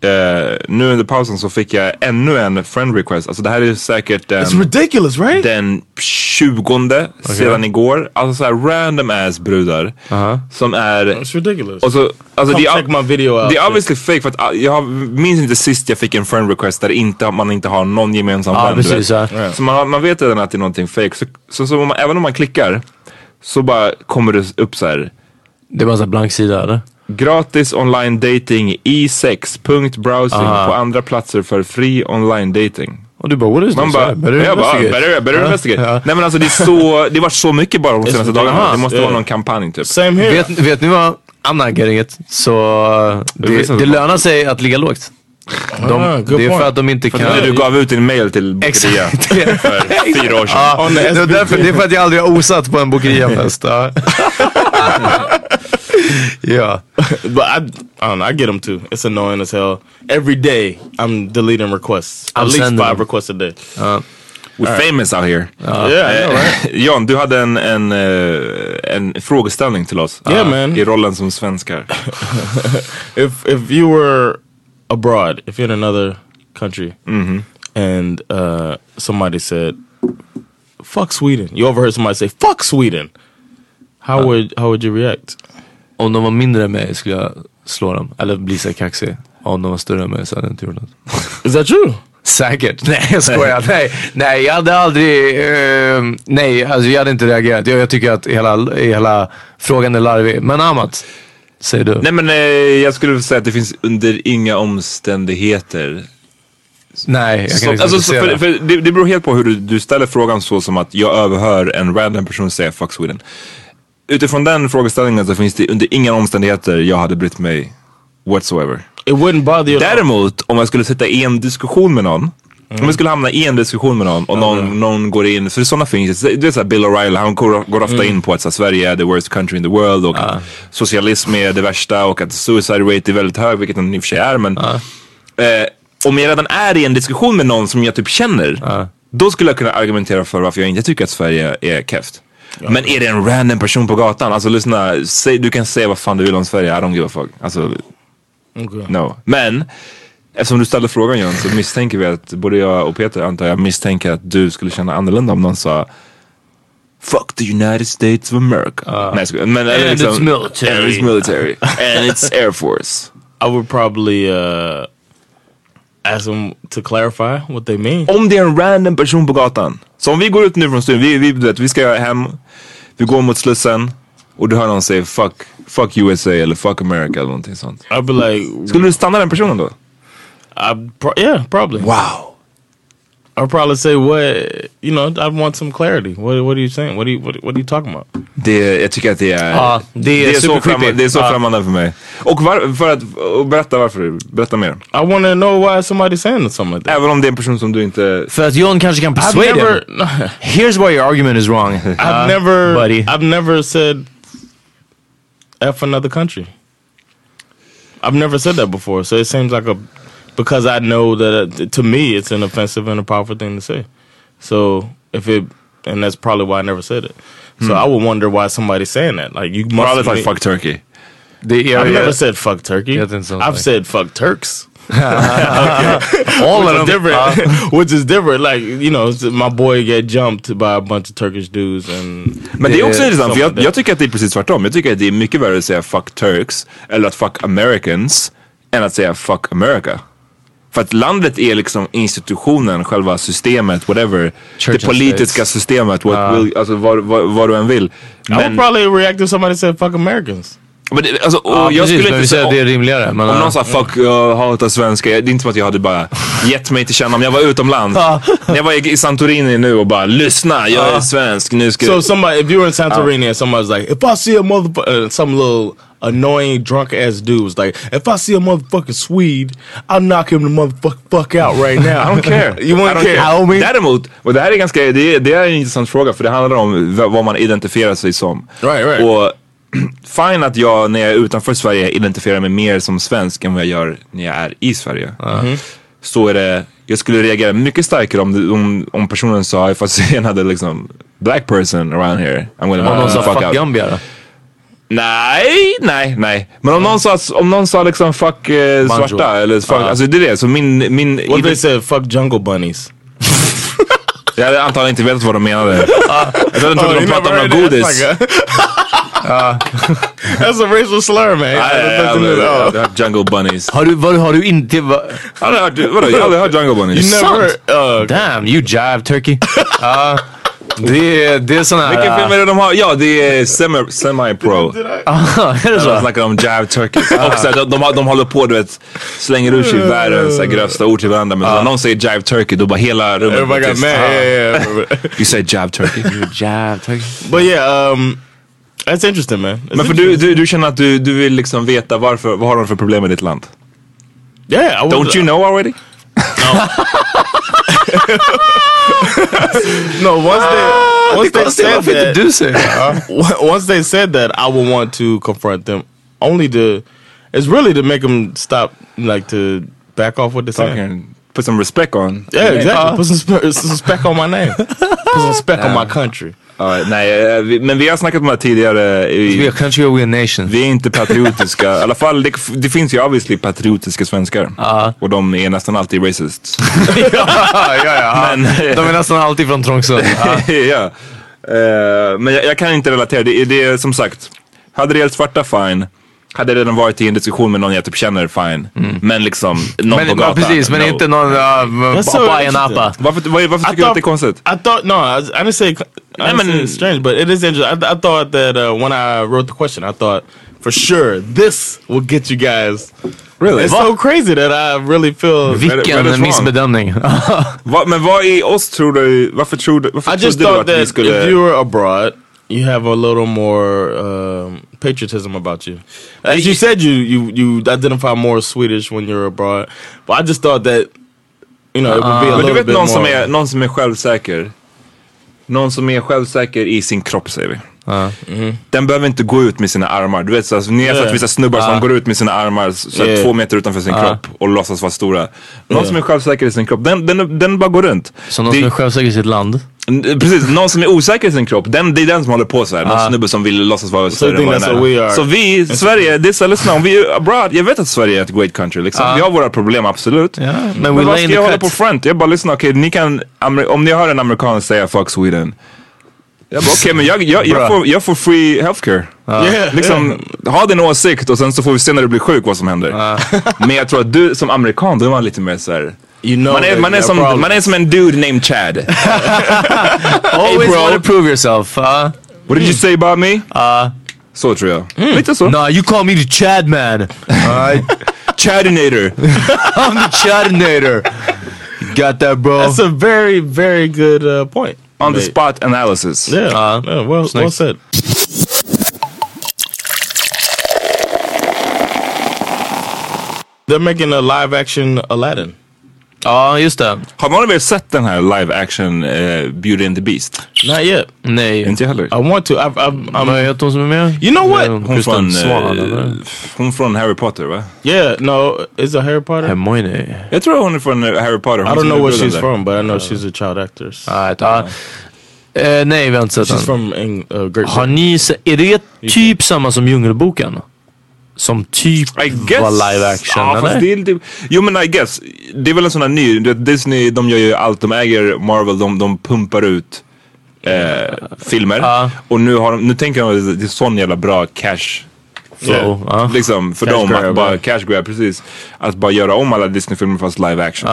Speaker 4: Eh, nu under pausen så fick jag ännu en friend request. Alltså det här är säkert den,
Speaker 6: It's ridiculous, right?
Speaker 4: den 20 sedan igår. Alltså såhär random ass brudar. Som är...
Speaker 6: It's ridiculous.
Speaker 4: Och så, alltså
Speaker 6: Come
Speaker 4: det är-
Speaker 6: check my video out.
Speaker 4: Det är obviously fake för att uh, jag har- minns inte sist jag fick en friend request där inte, man inte har någon gemensam
Speaker 3: Ja,
Speaker 4: vän. du
Speaker 3: precis,
Speaker 4: vet.
Speaker 3: ja.
Speaker 4: Så man, har- man vet redan att det är någonting fake. Så, så, så om man, även om man klickar så bara kommer det upp så här.
Speaker 3: Det är bara en sån här blank sida eller?
Speaker 4: Gratis online dating i 6 punkt browsing
Speaker 3: Aha.
Speaker 4: på andra platser för fri online dating.
Speaker 3: Och du bara, what is
Speaker 4: Man
Speaker 3: this?
Speaker 4: bara,
Speaker 3: Better
Speaker 4: jag bara,
Speaker 3: investigate.
Speaker 4: better, better investigate.
Speaker 3: ja.
Speaker 4: Nej men alltså det är så, det var så mycket bara de
Speaker 6: It's
Speaker 4: senaste dagarna. Det
Speaker 6: ridiculous.
Speaker 4: måste
Speaker 6: Yeah.
Speaker 4: vara någon kampanj typ.
Speaker 6: Same here.
Speaker 3: Vet, vet ni vad? I'm not getting it. Så det,
Speaker 4: finns en
Speaker 3: det
Speaker 4: sån.
Speaker 3: lönar sig att ligga lågt. De,
Speaker 6: Ah, good
Speaker 3: det är
Speaker 6: point.
Speaker 3: för att de inte kan...
Speaker 4: När du gav ut din mail till Bokeria
Speaker 3: Exakt.
Speaker 4: för fyra år sedan.
Speaker 3: Ja, det, är därför, det är för att jag aldrig har osat på en Bokeria-fest. Ja. ja.
Speaker 6: But I, I don't know. I get them too. It's annoying as hell. Every day, I'm deleting requests.
Speaker 3: I'm
Speaker 6: At least
Speaker 3: sending
Speaker 6: five
Speaker 3: them.
Speaker 6: requests a day.
Speaker 4: We're famous out here.
Speaker 6: yeah, I know, right?
Speaker 4: Jan, du hade en, en, eh, en frågeställning till oss.
Speaker 6: Yeah,
Speaker 4: Ah,
Speaker 6: man.
Speaker 4: I rollen som svenskar.
Speaker 6: if if you were abroad, if you're in another country, and uh, somebody said, "Fuck Sweden," you overheard somebody say, "Fuck Sweden." How would how would you react?
Speaker 3: Om de var mindre än mig skulle jag slå dem. Eller bli så här kaxig. Och om de var större än mig så hade jag inte gjort något.
Speaker 6: Is that true?
Speaker 3: Säkert. Nej jag skojar. Nej, nej jag hade aldrig... eh, nej, alltså jag hade inte reagerat. Jag, jag tycker att hela, hela frågan är larvig. Men Amat, säger du?
Speaker 4: Nej men eh, jag skulle säga att det finns under inga omständigheter.
Speaker 3: Nej, jag kan liksom
Speaker 4: Så, alltså,
Speaker 3: inte
Speaker 4: så,
Speaker 3: se
Speaker 4: för,
Speaker 3: det.
Speaker 4: för det, det beror helt på hur du, du ställer frågan så som att jag överhör en random person säga fuck Sweden. Utifrån den frågeställningen så finns det under inga omständigheter jag hade brytt mig whatsoever.
Speaker 6: It wouldn't bother you. at all.
Speaker 4: Däremot om jag skulle sitta i en diskussion med någon. Om jag skulle hamna i en diskussion med någon och någon, någon går in, för sådana finns det. Du vet såhär Bill O'Reilly, han går, går ofta in på att så här, Sverige är the worst country in the world och att socialism är det värsta och att suicide rate är väldigt hög, vilket den i och för sig är. Men eh, om jag redan är i en diskussion med någon som jag typ känner, då skulle jag kunna argumentera för varför jag inte tycker att Sverige är keft. Men är det en random person på gatan, alltså lyssna, säg, du kan säga vad fan du vill om Sverige, I don't give a fuck. Alltså,
Speaker 6: Okay.
Speaker 4: No. Men eftersom du ställde frågan John så misstänker vi att både jag och Peter antar jag misstänker att du skulle känna annorlunda om någon sa fuck the United States of America. Nej, jag skojar. men,
Speaker 3: Ah.
Speaker 4: eller
Speaker 3: And
Speaker 4: liksom,
Speaker 3: it's military.
Speaker 4: And it's military. and it's air force.
Speaker 6: I would probably uh, ask them to clarify what they mean.
Speaker 4: Om det är en random person på gatan. Så om vi går ut nu från studion, vi, vi, du vet, vi ska hem, vi går mot Slussen och du hör någon säga fuck, fuck USA eller fuck America eller någonting sånt.
Speaker 6: I'd be like,
Speaker 4: Skulle du stanna den personen då?
Speaker 6: I pro yeah, probably.
Speaker 4: Wow.
Speaker 6: I'd probably say, what you know, I want some clarity. What What are you saying? What are you What, what are you talking about?
Speaker 4: Det, jag tycker att det är...
Speaker 3: Ja, det är
Speaker 4: så,
Speaker 3: supercreepy.
Speaker 4: främmande, det är så
Speaker 3: Ja.
Speaker 4: främmande för mig. Och var, för att och berätta varför, berätta mer.
Speaker 6: I want to know why somebody's saying something like that.
Speaker 4: Även om det är en person som du inte...
Speaker 3: För att John kanske kan
Speaker 6: I've
Speaker 3: persuade
Speaker 6: never,
Speaker 3: him. Here's why your argument is wrong.
Speaker 6: I've never,
Speaker 3: Uh, buddy.
Speaker 6: I've never said f another country. I've never said that before, so it seems like a because I know that uh, to me it's an offensive and a powerful thing to say. So if it, and that's probably why I never said it. So
Speaker 3: Hmm.
Speaker 6: I would wonder why somebody's saying that. Like you must
Speaker 4: Probably like
Speaker 6: mean-
Speaker 4: fuck Turkey.
Speaker 3: Det är,
Speaker 6: I've never said fuck turkey.
Speaker 3: Yeah,
Speaker 6: I've
Speaker 3: that sounds like-
Speaker 6: said fuck Turks.
Speaker 3: all
Speaker 6: which
Speaker 3: of
Speaker 6: is
Speaker 3: them. uh.
Speaker 6: different. which is different. Like you know, it's- my boy get jumped by a bunch of Turkish dudes, and
Speaker 4: Men det är också
Speaker 6: Yeah,
Speaker 4: intressant för
Speaker 6: something
Speaker 4: jag,
Speaker 6: like
Speaker 4: jag tycker att det är precis tvärtom. Jag tycker att det är mycket värre att säga fuck Turks eller att fuck Americans än att säga fuck America. För att landet är liksom institutionen, själva systemet, whatever.
Speaker 3: Church
Speaker 4: det
Speaker 3: and
Speaker 4: politiska
Speaker 3: states.
Speaker 4: systemet, what will, alltså vad, vad, vad du än vill.
Speaker 6: I would
Speaker 4: Men,
Speaker 6: probably react if somebody said fuck Americans.
Speaker 4: men det- alltså, och
Speaker 3: Ja,
Speaker 4: jag
Speaker 3: precis,
Speaker 4: skulle
Speaker 3: men vi
Speaker 4: inte
Speaker 3: säger
Speaker 4: säga
Speaker 3: att det är rimligare. Men, uh, eh,
Speaker 4: Om
Speaker 3: ja.
Speaker 4: någon sa fuck, jag hatar svenskar. Det är inte som att jag hade bara gett mig till känna om jag var utomlands. När jag var i i Santorini nu och bara lyssna, jag är svensk. Nu ska
Speaker 6: So if somebody, if you were in Santorini and somebody's like, if I see a motherfucker, uh, some little annoying drunk ass dude was like, if I see a motherfucking Swede, I'll knock him the motherfucker fuck out right now.
Speaker 4: I don't care.
Speaker 6: You won't
Speaker 4: I don't
Speaker 6: care.
Speaker 4: Däremot, och det här är ganska, det är, det är en intressant fråga för det handlar om v- vad man identifierar sig som.
Speaker 6: Right, right.
Speaker 4: Och fine att jag när jag är utanför Sverige identifierar mig mer som svensk än vad jag gör när jag är i Sverige.
Speaker 3: Uh-huh.
Speaker 4: Mm-hmm. Så är det, jag skulle reagera mycket starkare om, det- om, om personen sa ifall jag hade liksom black person around here. I'm gonna
Speaker 3: Om någon
Speaker 4: knock
Speaker 3: sa
Speaker 4: the
Speaker 3: uh, fuck Gambia då?
Speaker 4: Nej, nej, nej. Men om någon sa, om någon sa liksom fuck eh,
Speaker 3: Mm. Banjo.
Speaker 4: svarta eller fuck, alltså det är det. Så min, min
Speaker 6: What if they said fuck jungle bunnies?
Speaker 4: Jag hade antagligen inte vetat vad de menade. Jag hade
Speaker 6: Oh,
Speaker 4: trodde de
Speaker 6: you never
Speaker 4: pratade om
Speaker 6: heard
Speaker 4: något
Speaker 6: that?
Speaker 4: godis.
Speaker 6: That's, like a, that's a racial slur,
Speaker 4: Nej,
Speaker 6: man.
Speaker 4: nej,
Speaker 6: That's
Speaker 4: nej,
Speaker 6: nothing
Speaker 4: nej,
Speaker 6: at
Speaker 4: Jag
Speaker 6: all.
Speaker 4: hade hört Jungle Bunnies.
Speaker 3: Har du, vad, har du inte... Va,
Speaker 4: Jag hade hört- Vadå, jag har aldrig hört Jungle
Speaker 6: You
Speaker 4: Bunnies.
Speaker 6: never heard, uh,
Speaker 3: damn, you jive turkey. Uh, Ja, det, är- det är sån här...
Speaker 4: Vilken film är det de har? Ja, det är Semi- Semi-Pro.
Speaker 3: är det
Speaker 4: De
Speaker 3: så?
Speaker 4: snackar om Jive Turkeys. Och så här, de, de, har- de håller på, du vet, slänger ur sig världens så här grövsta ord till varandra. Men så när någon säger Jive Turkey, då bara hela rummet
Speaker 6: everybody
Speaker 4: blir
Speaker 6: got
Speaker 4: tyst. Ah,
Speaker 6: mad. Yeah, yeah, yeah, I remember.
Speaker 4: You say Jive Turkey.
Speaker 3: Jive turkey.
Speaker 6: but yeah, um, that's interesting, man. That's
Speaker 4: Men för du, du, du känner att du, du vill liksom veta varför, vad har de för problem i ditt land?
Speaker 6: yeah, I would,
Speaker 4: Don't you know already?
Speaker 6: No, once
Speaker 4: Ah,
Speaker 6: they
Speaker 3: Det
Speaker 6: once
Speaker 3: är
Speaker 6: they
Speaker 3: konstigt,
Speaker 6: said
Speaker 3: varför inte
Speaker 6: that,
Speaker 3: du säger det?
Speaker 6: on- once they said that, I would want to confront them. Only to, it's really to make them stop, like to back off what they're
Speaker 4: Talk
Speaker 6: saying.
Speaker 4: here uh, and Put some respect on.
Speaker 6: Yeah, exactly. Put some, spe- some speck on my name. Put some speck on my country.
Speaker 4: Ja, nej, eh, vi- men vi har snackat om det här tidigare.
Speaker 3: We
Speaker 4: I-
Speaker 3: are country or we are nation.
Speaker 4: Vi är inte patriotiska. I alla fall, det, det finns ju obviously patriotiska svenskar. Och de är nästan alltid racists.
Speaker 3: ja, ja, ja.
Speaker 4: Men-
Speaker 3: De är nästan alltid från Trångsund. Ja.
Speaker 4: ja. Eh, men jag, jag kan inte relatera. Det, det är som sagt, hade det gällt svarta, fine. Hade jag redan varit i en diskussion med någon jag typ känner, fine. Men liksom, någon på
Speaker 3: Mm. Men, ja,
Speaker 4: gatan.
Speaker 3: precis, men
Speaker 4: no.
Speaker 3: inte någon uh,
Speaker 6: That's so
Speaker 3: Bayanapa.
Speaker 4: Varför, var, varför tycker du att det är konstigt?
Speaker 6: I thought no, I, was- I didn't say. I
Speaker 4: I
Speaker 6: didn't
Speaker 4: mean-
Speaker 6: say it's strange, but it is interesting. I, I thought that uh, when I wrote the question, I thought for sure this will get you guys.
Speaker 4: Really?
Speaker 6: It's so crazy that I really feel.
Speaker 4: Where is
Speaker 3: Vilken
Speaker 4: wrong?
Speaker 3: missbedömning. Ah,
Speaker 4: Va, men vad i oss tror du, varför tror du, varför
Speaker 6: I
Speaker 4: trodde
Speaker 6: just
Speaker 4: du
Speaker 6: thought
Speaker 4: att vi
Speaker 6: that
Speaker 4: skulle...
Speaker 6: if you were abroad, you have a little more um, patriotism about you. As you said, you you you identify more Swedish when you're abroad, but I just thought that Uh-uh. you know it would be a
Speaker 4: Men du
Speaker 6: little
Speaker 4: vet
Speaker 6: bit
Speaker 4: någon som,
Speaker 6: more.
Speaker 4: är, någon som är självsäker. Någon som är självsäker i sin kropp säger vi.
Speaker 3: Mm.
Speaker 4: Den behöver inte gå ut med sina armar. Du vet, så, alltså, ni har sett
Speaker 6: Yeah.
Speaker 4: vissa snubbar som går ut med sina armar så, här
Speaker 6: Yeah.
Speaker 4: två meter utanför sin kropp och låtsas vara stora. Någon som är självsäker i sin kropp, den, den, den bara går runt.
Speaker 3: Som någon
Speaker 4: Det-
Speaker 3: som är självsäker i sitt land.
Speaker 4: Mm, Precis, någon som är osäker i sin kropp, den, det är den som håller på så här.
Speaker 3: Ah.
Speaker 4: Någon snubbe som vill låtsas vara större
Speaker 6: you
Speaker 4: än vad
Speaker 6: think that's
Speaker 4: den
Speaker 6: what we
Speaker 4: är.
Speaker 6: are?
Speaker 4: Så vi, i Sverige, det är så här, lyssna, om vi är abroad, jag vet att Sverige är ett great country liksom. Vi har våra problem, absolut.
Speaker 3: Ah. Ja, men we
Speaker 4: men
Speaker 3: lay
Speaker 4: vad
Speaker 3: in
Speaker 4: ska
Speaker 3: the
Speaker 4: jag hålla
Speaker 3: cut.
Speaker 4: på front? Jag bara lyssna, okej, ni kan, Amer- om ni hör en amerikan säga fuck Sweden, Jag bara, Okej, men jag, jag, jag,
Speaker 3: Bruh. Ah.
Speaker 4: får, jag får free healthcare.
Speaker 6: Yeah,
Speaker 4: liksom, ha din åsikt och sen så får vi se när du blir sjuk vad som händer.
Speaker 3: Ah.
Speaker 4: Men jag tror att du som amerikan, då är man lite mer såhär.
Speaker 6: You know
Speaker 4: Man är,
Speaker 6: that
Speaker 4: man, är
Speaker 6: you
Speaker 4: som,
Speaker 6: have
Speaker 4: man är som en dude named Chad.
Speaker 3: Always
Speaker 4: bro.
Speaker 3: want to prove yourself. Uh,
Speaker 4: What
Speaker 6: Hmm.
Speaker 4: did you say about me?
Speaker 6: Uh,
Speaker 4: så tror jag. Lite så.
Speaker 3: nah, you call me the Chad man. Alright?
Speaker 4: Chadinator.
Speaker 3: I'm the Chadinator. You Got that, bro.
Speaker 6: That's a very, very good uh, point.
Speaker 4: On the
Speaker 6: Mate.
Speaker 4: spot analysis.
Speaker 6: Yeah, yeah well, well
Speaker 3: snyggt.
Speaker 6: said. They're making a live action Aladdin.
Speaker 3: Ja, just det.
Speaker 4: Har någon av er sett den här live action eh, Beauty and the Beast?
Speaker 6: Not yet.
Speaker 3: Nej.
Speaker 4: Inte jag heller.
Speaker 6: I want to. I've, I've,
Speaker 3: Vad
Speaker 6: I'm,
Speaker 3: heter hon som är med?
Speaker 6: you know
Speaker 3: Hon
Speaker 6: what?
Speaker 4: Hon
Speaker 3: Kristen
Speaker 4: från,
Speaker 3: Swan,
Speaker 4: eh,
Speaker 3: eller?
Speaker 4: hon från Harry Potter va?
Speaker 6: Yeah, no, it's a Harry Potter.
Speaker 3: Hermione.
Speaker 4: Jag tror hon är från eh, Harry Potter. Uh, Hon
Speaker 6: I
Speaker 4: som
Speaker 6: don't know
Speaker 4: är
Speaker 6: where
Speaker 4: bruden
Speaker 6: she's
Speaker 4: där.
Speaker 6: from, but I know she's a child actress.
Speaker 4: uh,
Speaker 3: Alright, ja. Eh, nej, vi har inte sett
Speaker 6: she's
Speaker 3: den.
Speaker 6: from Eng- uh, Great
Speaker 3: Har
Speaker 6: Britain.
Speaker 3: ni se- Är det typ samma som Djungelboken? Som typ
Speaker 4: I guess.
Speaker 3: var live action,
Speaker 4: ja, fast
Speaker 3: eller?
Speaker 4: det är lite, jo men I guess. Det är väl en sån här ny. Du vet, Disney de gör ju allt. De äger Marvel. De, de pumpar ut eh, filmer.
Speaker 3: Ja.
Speaker 4: Och nu, har de, nu tänker de att det är sån jävla bra cash
Speaker 3: Flow. Ja.
Speaker 4: Liksom för
Speaker 6: Cash
Speaker 4: dem
Speaker 6: grab,
Speaker 4: att bara
Speaker 6: ja.
Speaker 4: cash grab, precis. Att bara göra om alla Disney-filmer fast live action.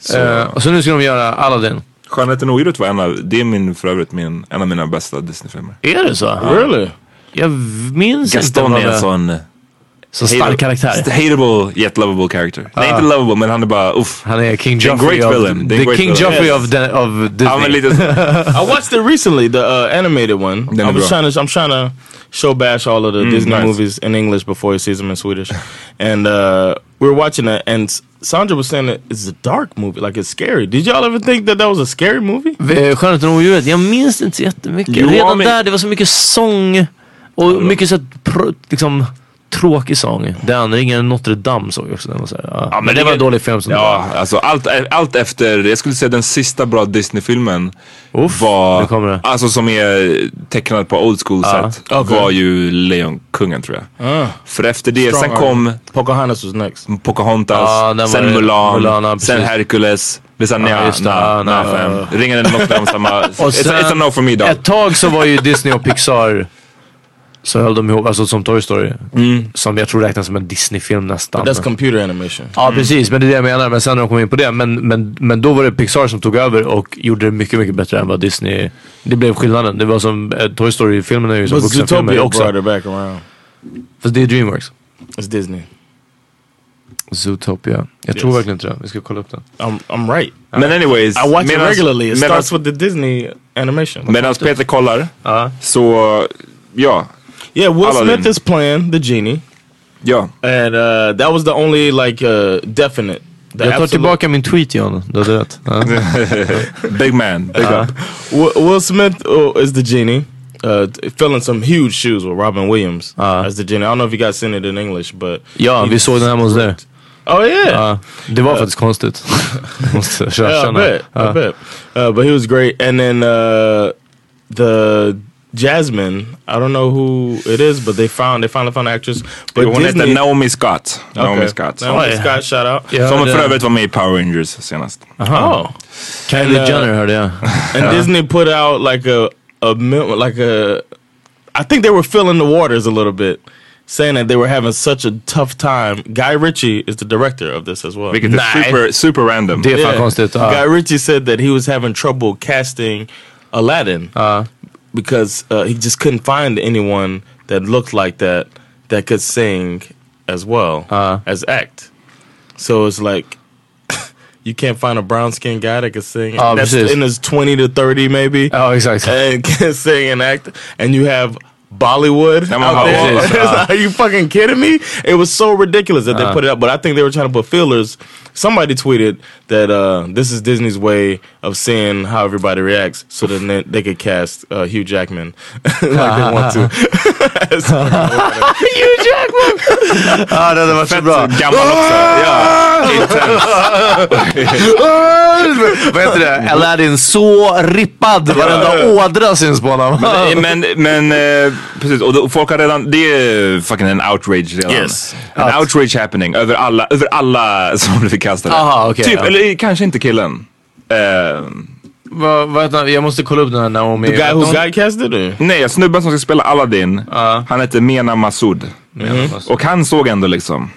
Speaker 4: Så,
Speaker 3: Eh, och så nu ska de göra Aladdin.
Speaker 4: Skönheten och odjuret var en av, det är min, för övrigt min, en av mina bästa Disney-filmer.
Speaker 3: Är det så?
Speaker 6: Really?
Speaker 3: Jag minns
Speaker 4: Gaston
Speaker 3: inte
Speaker 4: är en
Speaker 3: vad det...
Speaker 4: sån
Speaker 3: Så eh, stark
Speaker 4: st-
Speaker 3: karaktär.
Speaker 4: hateable yet lovable character. Nej inte lovable men han är bara uff.
Speaker 3: Han är King
Speaker 4: Det är en
Speaker 3: Joffrey
Speaker 4: great
Speaker 3: of...
Speaker 4: villain. Det är
Speaker 3: The
Speaker 4: en great
Speaker 3: King
Speaker 4: villain.
Speaker 3: Joffrey
Speaker 4: Yes.
Speaker 3: of, den- of
Speaker 4: Ja men
Speaker 3: Disney.
Speaker 4: lite så.
Speaker 6: I watched it recently, the uh, animated one.
Speaker 4: Den är
Speaker 6: I was
Speaker 4: bra.
Speaker 6: trying to, I'm trying to show bash all of the Disney
Speaker 4: Mm, nice.
Speaker 6: movies in English before he sees them in Swedish. and uh, we were watching it, and S- Sandra was saying that it's a dark movie, like it's scary. Did y'all ever think that that was a scary movie?
Speaker 3: Eh, Skönheten och odjuret, jag minns inte så jättemycket.
Speaker 4: Jo,
Speaker 3: Redan
Speaker 4: men-
Speaker 3: där, det var så mycket sång. Och mycket så att pr- liksom tråkig sång. Den, Ringen i Notre Dame såg jag också. Den var så här, ja. men, det var en dålig film. Som
Speaker 4: Ja alltså allt, allt efter, jag skulle säga den sista bra Disney-filmen
Speaker 3: Uff, nu kommer
Speaker 4: var,
Speaker 3: det.
Speaker 4: alltså som är tecknad på old school sätt, var ju Lejonkungen tror jag. För efter det, sen
Speaker 6: Strong
Speaker 4: kom
Speaker 6: Pocahontas was next.
Speaker 4: Pocahontas,
Speaker 3: Ja, den var
Speaker 4: sen
Speaker 3: det.
Speaker 4: Mulan,
Speaker 3: Mulan, ja,
Speaker 4: sen
Speaker 3: precis.
Speaker 4: Hercules. Det är såhär,
Speaker 3: Ja,
Speaker 4: nja,
Speaker 3: just det. Ja,
Speaker 4: nja, nja,
Speaker 3: nej, ja,
Speaker 4: fem. Ringen är något av samma. It's a- it's a no for me dog.
Speaker 3: Ett tag så var ju Disney och Pixar så höll de ihop, alltså som Toy Story. Som jag tror räknas som en Disney-film nästan.
Speaker 6: That's computer animation.
Speaker 3: Ja precis, men det är det jag menar. Men sen när de kom in på det, men, men, men då var det Pixar som tog över och gjorde det mycket, mycket bättre än vad Disney... Det blev skillnaden. Det var som eh, Toy Story-filmen är ju som
Speaker 6: But
Speaker 3: vuxenfilmer
Speaker 6: Zootopia
Speaker 3: också.
Speaker 6: brought it back around.
Speaker 3: Fast det är Dreamworks.
Speaker 6: It's Disney.
Speaker 3: Zootopia. Jag tror verkligen inte det. Vi ska kolla upp den.
Speaker 6: I'm, I'm right.
Speaker 4: Men anyways.
Speaker 6: I watch it
Speaker 4: medans-
Speaker 6: regularly. It
Speaker 4: medans-
Speaker 6: starts with the Disney animation.
Speaker 4: Medan Peter kollar,
Speaker 3: Ja.
Speaker 4: så ja,
Speaker 6: yeah, Will
Speaker 4: Aladdin.
Speaker 6: Smith is playing the genie.
Speaker 4: ja.
Speaker 6: And uh, that was the only like uh, definite. The
Speaker 3: Jag tar
Speaker 6: absolute-
Speaker 3: tillbaka min tweet John. Du hade rätt. Ja.
Speaker 4: Big man, big up.
Speaker 6: Wi- Will Smith oh, is the genie, uh, t- filling some huge shoes with Robin Williams as the genie. I don't know if you guys seen it in English, but
Speaker 3: Ja, vi såg den hemma hos dig.
Speaker 6: oh yeah,
Speaker 3: Ja, det var faktiskt konstigt. Måste jag
Speaker 6: yeah, I
Speaker 3: erkänna.
Speaker 6: bet, I
Speaker 3: Ja.
Speaker 6: bet. Uh, but he was great. And then uh, the Jasmine, I don't know who it is, but they found they finally found an actress. But
Speaker 4: Hon heter
Speaker 6: Disney,
Speaker 4: Naomi Scott. Naomi
Speaker 6: Okay.
Speaker 4: Scott.
Speaker 6: Naomi
Speaker 3: Oj.
Speaker 6: Scott, shout out.
Speaker 3: Ja,
Speaker 4: Som
Speaker 3: det-
Speaker 4: för övrigt var med i Power Rangers senast.
Speaker 6: Oh,
Speaker 3: Kylie
Speaker 6: eh,
Speaker 3: Jenner hörde jag.
Speaker 6: and Disney put out like a a mil- like a I think they were filling the waters a little bit, saying that they were having such a tough time. Guy Ritchie is the director of this as well.
Speaker 4: Vilket är super, super random.
Speaker 3: Det är fan konstigt. ja.
Speaker 6: Guy Ritchie said that he was having trouble casting Aladdin because uh, he just couldn't find anyone that looked like that that could sing as well as act. So it's like you can't find a brown skinned guy that could sing.
Speaker 3: Ah,
Speaker 6: that's
Speaker 3: precis.
Speaker 6: in his twenty to thirty maybe
Speaker 3: Ja, exakt.
Speaker 6: and can sing and act, and you have Bollywood
Speaker 4: I'm
Speaker 6: out
Speaker 4: out.
Speaker 6: there.
Speaker 4: It is, uh.
Speaker 6: Are you fucking kidding me? It was so ridiculous that they put it up, but I think they were trying to put fillers. Somebody tweeted that uh, this is Disney's way of seeing how everybody reacts, so then they, they could cast uh, Hugh Jackman like they want to. Hugh Jackman.
Speaker 3: Ja, det hade varit så bra.
Speaker 4: Gammal också. Ja, intens.
Speaker 3: Vad heter det? Aladdin så rippad. Varenda ådra syns på honom.
Speaker 4: Eh, men, men eh, precis, och då, folk har redan, det är fucking en outrage redan.
Speaker 6: Yes.
Speaker 4: En outrage happening över alla, över alla som blev förkastade.
Speaker 3: Aha, Ah, okej,
Speaker 4: typ,
Speaker 3: ja.
Speaker 4: eller kanske inte killen. Eh,
Speaker 3: Vad, vad heter han? Jag måste kolla upp den här Naomi.
Speaker 6: The guy
Speaker 3: Vet
Speaker 6: who
Speaker 3: hon-
Speaker 6: guidecasted it?
Speaker 4: Nej, alltså, snubben som ska spela Aladdin,
Speaker 3: Ja.
Speaker 4: han heter Mena Massoud. Och han såg ändå liksom,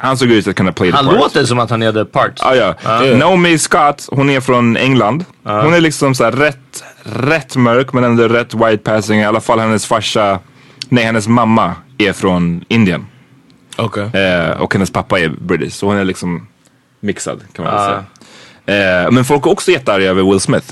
Speaker 4: han såg ut att kunna play the
Speaker 3: Han
Speaker 4: part.
Speaker 3: låter som att han hade parts.
Speaker 4: Ah, ja. Naomi Scott, hon är från England. Hon är liksom så här rätt, rätt mörk men ändå rätt white passing. I alla fall hennes farsa, nej hennes mamma är från Indien.
Speaker 6: Okay.
Speaker 4: Eh, och hennes pappa är British. Så hon är liksom mixad kan man väl säga. Eh, men folk är också jättearga över Will Smith.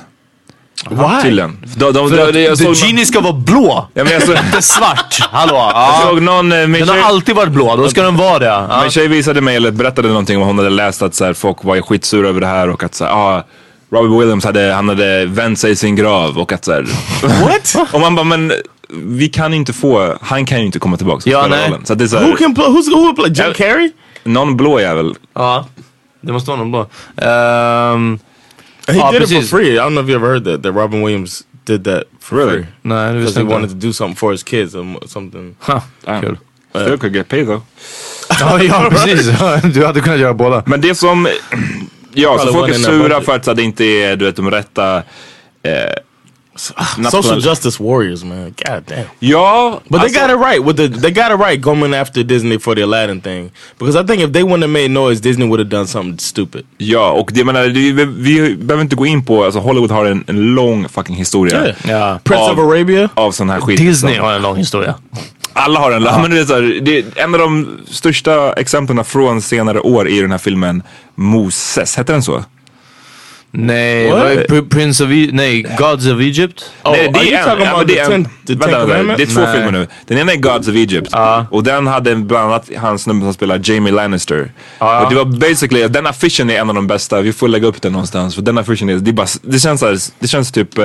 Speaker 4: Tydligen. De, de, de, de, jag
Speaker 3: The
Speaker 4: såg
Speaker 3: Genie ska vara blå!
Speaker 4: Ja, men jag såg-
Speaker 3: Inte svart! Hallå!
Speaker 4: någon, jag
Speaker 3: Ja.
Speaker 4: såg någon eh, min
Speaker 3: Den har
Speaker 4: tjej-
Speaker 3: alltid varit blå, då ska den vara det. Ja.
Speaker 4: Min tjej visade mig, eller berättade någonting om hon hade läst att så här, folk var skitsura över det här och att så här, ah, Robert Williams hade, han hade vänt sig i sin grav och att så här,
Speaker 6: What?
Speaker 4: Och man bara, men vi kan inte få, han kan ju inte komma tillbaka och
Speaker 3: Ja,
Speaker 4: spela
Speaker 3: nej.
Speaker 4: rollen. Så att det är så
Speaker 6: Who
Speaker 4: här,
Speaker 6: can play? Who's who will play? Jim Carrey?
Speaker 4: någon blå jävel.
Speaker 3: Ja. Det måste vara någon blå. Ehm,
Speaker 4: Oh,
Speaker 6: He
Speaker 3: Ah,
Speaker 6: did it
Speaker 3: precis.
Speaker 6: for free. I don't know if you ever heard that that Robin Williams did that for
Speaker 4: Really?
Speaker 6: free
Speaker 3: nej, det
Speaker 6: because
Speaker 3: visste
Speaker 6: he
Speaker 3: jag
Speaker 6: wanted
Speaker 3: inte.
Speaker 6: to do something for his kids or mo- something.
Speaker 3: Ha,
Speaker 4: Damn.
Speaker 3: Kul.
Speaker 4: Still could get paid though.
Speaker 3: Ja, ja, precis. Du hade kunnat göra båda.
Speaker 4: Men det som, ja, så
Speaker 6: Probably
Speaker 4: folk är
Speaker 6: one in a
Speaker 4: sura
Speaker 6: budget.
Speaker 4: för att så här, det inte är du vet, de rätta eh,
Speaker 6: Social
Speaker 4: nationella-
Speaker 6: justice warriors, man. God damn.
Speaker 4: Ja,
Speaker 6: But they
Speaker 4: alltså-
Speaker 6: got it right with the they got it right going after Disney for the Aladdin thing because I think if they wouldn't have made noise, Disney would have done something stupid.
Speaker 4: Ja, och det jag menar, det, vi, vi behöver inte gå in på, alltså Hollywood har en, en lång fucking historia.
Speaker 3: Ja.
Speaker 6: Prince of
Speaker 4: Av-
Speaker 6: Arabia.
Speaker 4: Av sån här skit. liksom.
Speaker 3: Disney
Speaker 6: liksom.
Speaker 3: har en lång historia.
Speaker 4: Alla har en ja. men det är så här, det är En av de största exemplen från senare år i den här filmen Moses, hette den så?
Speaker 3: Nej,
Speaker 6: What?
Speaker 3: vad är Pr- Prince of E- Nej, Gods of Egypt.
Speaker 6: Oh,
Speaker 4: Nej,
Speaker 6: are you
Speaker 4: en-
Speaker 6: talking
Speaker 4: ja,
Speaker 6: about
Speaker 4: men det
Speaker 6: the
Speaker 4: är en-
Speaker 6: Ten- the Ten
Speaker 4: vänta, vänta, Det är
Speaker 6: Commandments?
Speaker 4: två
Speaker 3: Nej.
Speaker 4: filmer nu. Den ena är Gods of Egypt och den hade bland annat han snubben som spelar Jamie Lannister. Och det var basically, den affischen är en av de bästa, vi får lägga upp den någonstans. För den affischen är, det, är bara, det, känns, så här- det känns typ eh,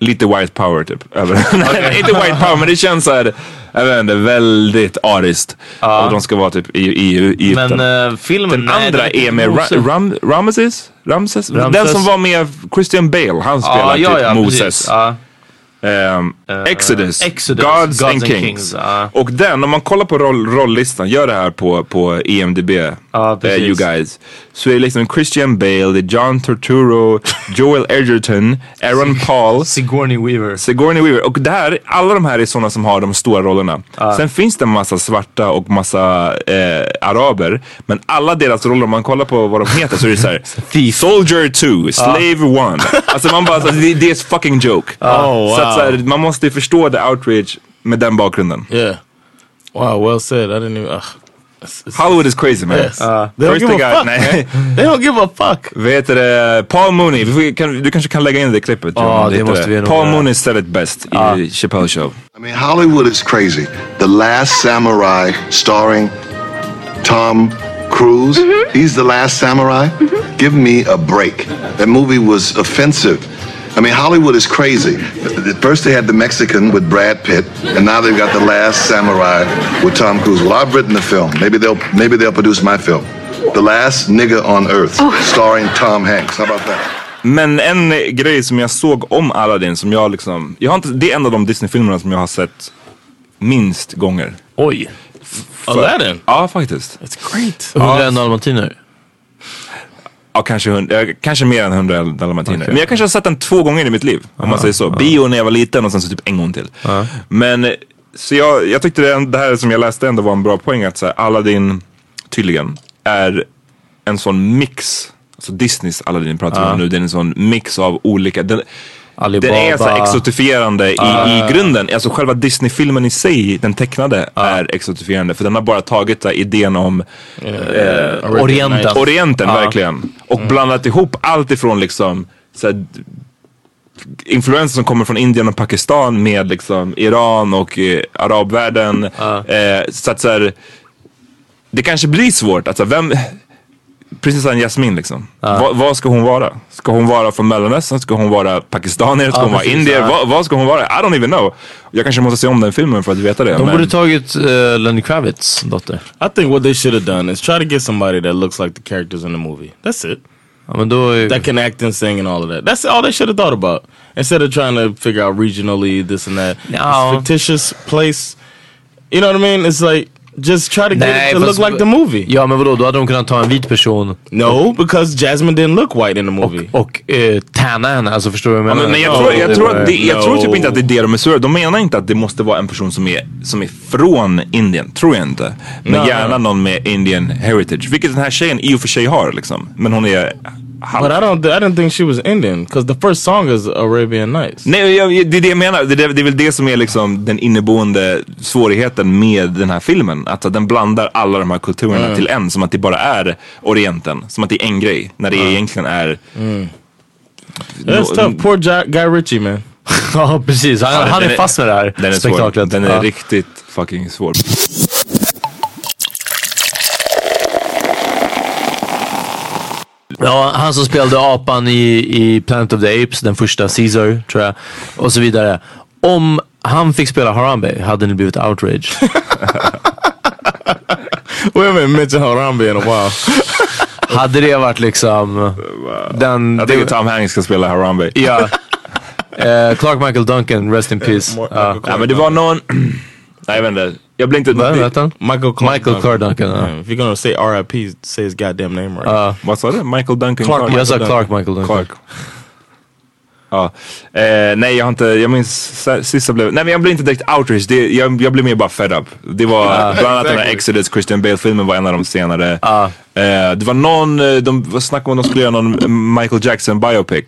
Speaker 4: lite white power typ. Över. Nej, inte white power men det känns såhär, jag vet inte, väldigt ariskt. Och de ska vara typ i, i, i Egypten.
Speaker 3: Men eh, filmen...
Speaker 4: Den
Speaker 3: nej,
Speaker 4: andra
Speaker 3: det-
Speaker 4: är med Ra- Ram- Ramses? Ramses? Den
Speaker 3: Ramses.
Speaker 4: som var med Christian Bale,
Speaker 3: Ja,
Speaker 4: han spelar
Speaker 3: ja,
Speaker 4: typ
Speaker 3: ja,
Speaker 4: Moses.
Speaker 3: precis. Ja. Eh,
Speaker 4: Ehm, Exodus,
Speaker 3: Exodus,
Speaker 4: Gods, and Kings.
Speaker 3: ja.
Speaker 4: Och den, om man kollar på roll, rolllistan, gör det här på, på EMDB,
Speaker 3: Ja,
Speaker 4: eh,
Speaker 3: precis.
Speaker 4: you guys. Så är det liksom Christian Bale, det är John Turturro, Joel Edgerton, Aaron Paul.
Speaker 3: Sigourney Weaver.
Speaker 4: Sigourney Weaver och det här, alla de här är sådana som har de stora rollerna. Sen finns det en massa svarta och massa eh, araber. Men alla deras roller, om man kollar på vad de heter så är det såhär Soldier 2, Slave 1. Alltså man bara, så, det, det är ett fucking joke.
Speaker 6: Oh,
Speaker 4: Så att så här,
Speaker 6: wow.
Speaker 4: man måste ju förstå the outrage med den bakgrunden.
Speaker 6: Yeah. Wow. Well said. I didn't even. Ugh. It's- it's-
Speaker 4: Hollywood is crazy man.
Speaker 6: Yes. they don't
Speaker 4: First
Speaker 6: give a
Speaker 4: they got-
Speaker 6: fuck.
Speaker 4: nej.
Speaker 6: man. They don't give a fuck.
Speaker 4: Vad heter det? Paul Mooney, vi får- kan, du kanske kan lägga in det klippet?
Speaker 3: Ja,
Speaker 4: Johan,
Speaker 3: det
Speaker 4: heter
Speaker 3: måste vi nog
Speaker 4: Paul
Speaker 3: göra.
Speaker 4: Mooney said it best i Chappelle show.
Speaker 7: I mean, Hollywood is crazy. The Last Samurai, starring Tom Cruise. He's the Last Samurai. Give me a break. That movie was offensive. I mean, Hollywood is crazy. At First, they had the Mexican with Brad Pitt, and now they've got the Last Samurai with Tom Cruise. Well, I've written the film. Maybe they'll maybe they'll produce my film, The Last Nigga on Earth, starring Tom Hanks. How about that?
Speaker 4: Men en eh, grej som jag såg om Aladdin som jag liksom, jag har inte, det är en av de Disney-filmerna som jag har sett minst gånger.
Speaker 3: Oj.
Speaker 6: Aladdin.
Speaker 4: Ja, faktiskt.
Speaker 6: It's great.
Speaker 3: 101 dalmatiner.
Speaker 4: Ja, kanske, hund, eh, kanske mer än 100 dalmatiner. Men jag kanske har sett den två gånger i mitt liv. Om man säger så. Bio när jag var liten och sen så typ en gång till. Men eh, så jag, jag tyckte det, det här som jag läste ändå var en bra poäng att så här, Aladdin tydligen är en sån mix. Alltså Disneys Aladdin pratar vi om nu. Det är en sån mix av olika. Den,
Speaker 3: Alibaba.
Speaker 4: Den är så här exotifierande i, i grunden. Alltså själva Disney-filmen i sig, den tecknade, är exotifierande. För den har bara tagit så här, idén om eh,
Speaker 3: Orienten.
Speaker 4: Orienten, verkligen. Och blandat ihop allt ifrån liksom så här, influenser som kommer från Indien och Pakistan med liksom Iran och eh, arabvärlden. Eh, så att så här, det kanske blir svårt. Alltså, vem, precis som Jasmin liksom. Va, vad ska hon vara? Ska hon vara från Mellanöstern? Ska hon vara pakistanier? Ska hon vara
Speaker 3: precis,
Speaker 4: indier?
Speaker 3: ja.
Speaker 4: Va, vad ska hon vara? I don't even know. Jag kanske måste se om den filmen för att veta det.
Speaker 3: De
Speaker 4: men-
Speaker 3: borde tagit eh, Lenny Kravitz dotter.
Speaker 6: I think what they should have done is try to get somebody that looks like the characters in the movie. That's it.
Speaker 3: Ja, men då är...
Speaker 6: That can act and sing and all of that. That's all they should have thought about. Instead of trying to figure out regionally this and that.
Speaker 3: No.
Speaker 6: It's fictitious place. You know what I mean? It's like Just try to get it to look
Speaker 3: fast-
Speaker 6: like the movie.
Speaker 3: Ja men vadå, då hade de kunnat ta en vit person.
Speaker 6: No, because Jasmine didn't look white in the movie.
Speaker 3: Och, och eh, tanna henne, alltså förstår du vad jag
Speaker 4: Ja,
Speaker 3: menar?
Speaker 4: men, men jag,
Speaker 3: Ja,
Speaker 4: tror, jag,
Speaker 3: det
Speaker 4: tror
Speaker 3: var-
Speaker 4: att det, jag tror typ inte att det är det de är sura. De menar inte att det måste vara en person som är, som är från Indien. Tror jag inte. Men
Speaker 6: Nej.
Speaker 4: gärna någon med Indian heritage. Vilket den här tjejen i och för sig har liksom. Men hon är
Speaker 6: But I don't. I didn't think she was Indian because the first song is Arabian Nights.
Speaker 4: Nej, jag, jag- det är det jag menar. Det, är- det är väl det som är liksom den inneboende svårigheten med den här filmen. Att, att den blandar alla de här kulturerna
Speaker 6: Mm.
Speaker 4: till en. Som att det bara är Orienten. Som att det är en grej. När det egentligen är...
Speaker 6: Mm. That's tough. Poor Ja- Guy Ritchie man.
Speaker 3: ja precis, han,
Speaker 4: Ja,
Speaker 3: han
Speaker 4: den
Speaker 3: är fast med det här
Speaker 4: den är svår.
Speaker 3: spektaklet.
Speaker 4: Den är
Speaker 3: Ja.
Speaker 4: riktigt fucking svår.
Speaker 3: Ja, han som spelade apan i, i Planet of the Apes, den första Caesar tror jag. Och så vidare. Om han fick spela Harambe hade ni blivit outrage.
Speaker 6: We haven't mentioned Harambe in a while.
Speaker 3: hade det varit liksom... Den,
Speaker 4: Jag
Speaker 3: det-
Speaker 4: tycker Tom Hanks ska spela Harambe.
Speaker 3: Ja. Eh, Clark Michael Duncan, rest in peace. Ja.
Speaker 4: Ja, men det var någon... Nej, jag vet inte. Jag blir inte...
Speaker 3: Vad
Speaker 4: det-
Speaker 3: hette han?
Speaker 6: Michael Clark
Speaker 3: Michael Clark Duncan. ja.
Speaker 4: Mm.
Speaker 6: If you're gonna say R.I.P., say his goddamn name
Speaker 4: Uh,
Speaker 6: right.
Speaker 3: Ja.
Speaker 4: Vad sa du? Michael Duncan?
Speaker 3: Clark, jag sa
Speaker 4: Duncan.
Speaker 3: Clark Michael Duncan.
Speaker 4: Clark. Ja. Eh, nej, jag har inte... Jag minns s- sista blev... Nej, men jag blev inte direkt outrage. Det, jag, jag blev mer bara fed up. Det var bland annat den här
Speaker 6: exactly.
Speaker 4: Exodus, Christian Bale-filmen var en av de senare. Eh, det var någon... eh, De vad snackade om att de skulle göra någon eh, Michael Jackson biopic.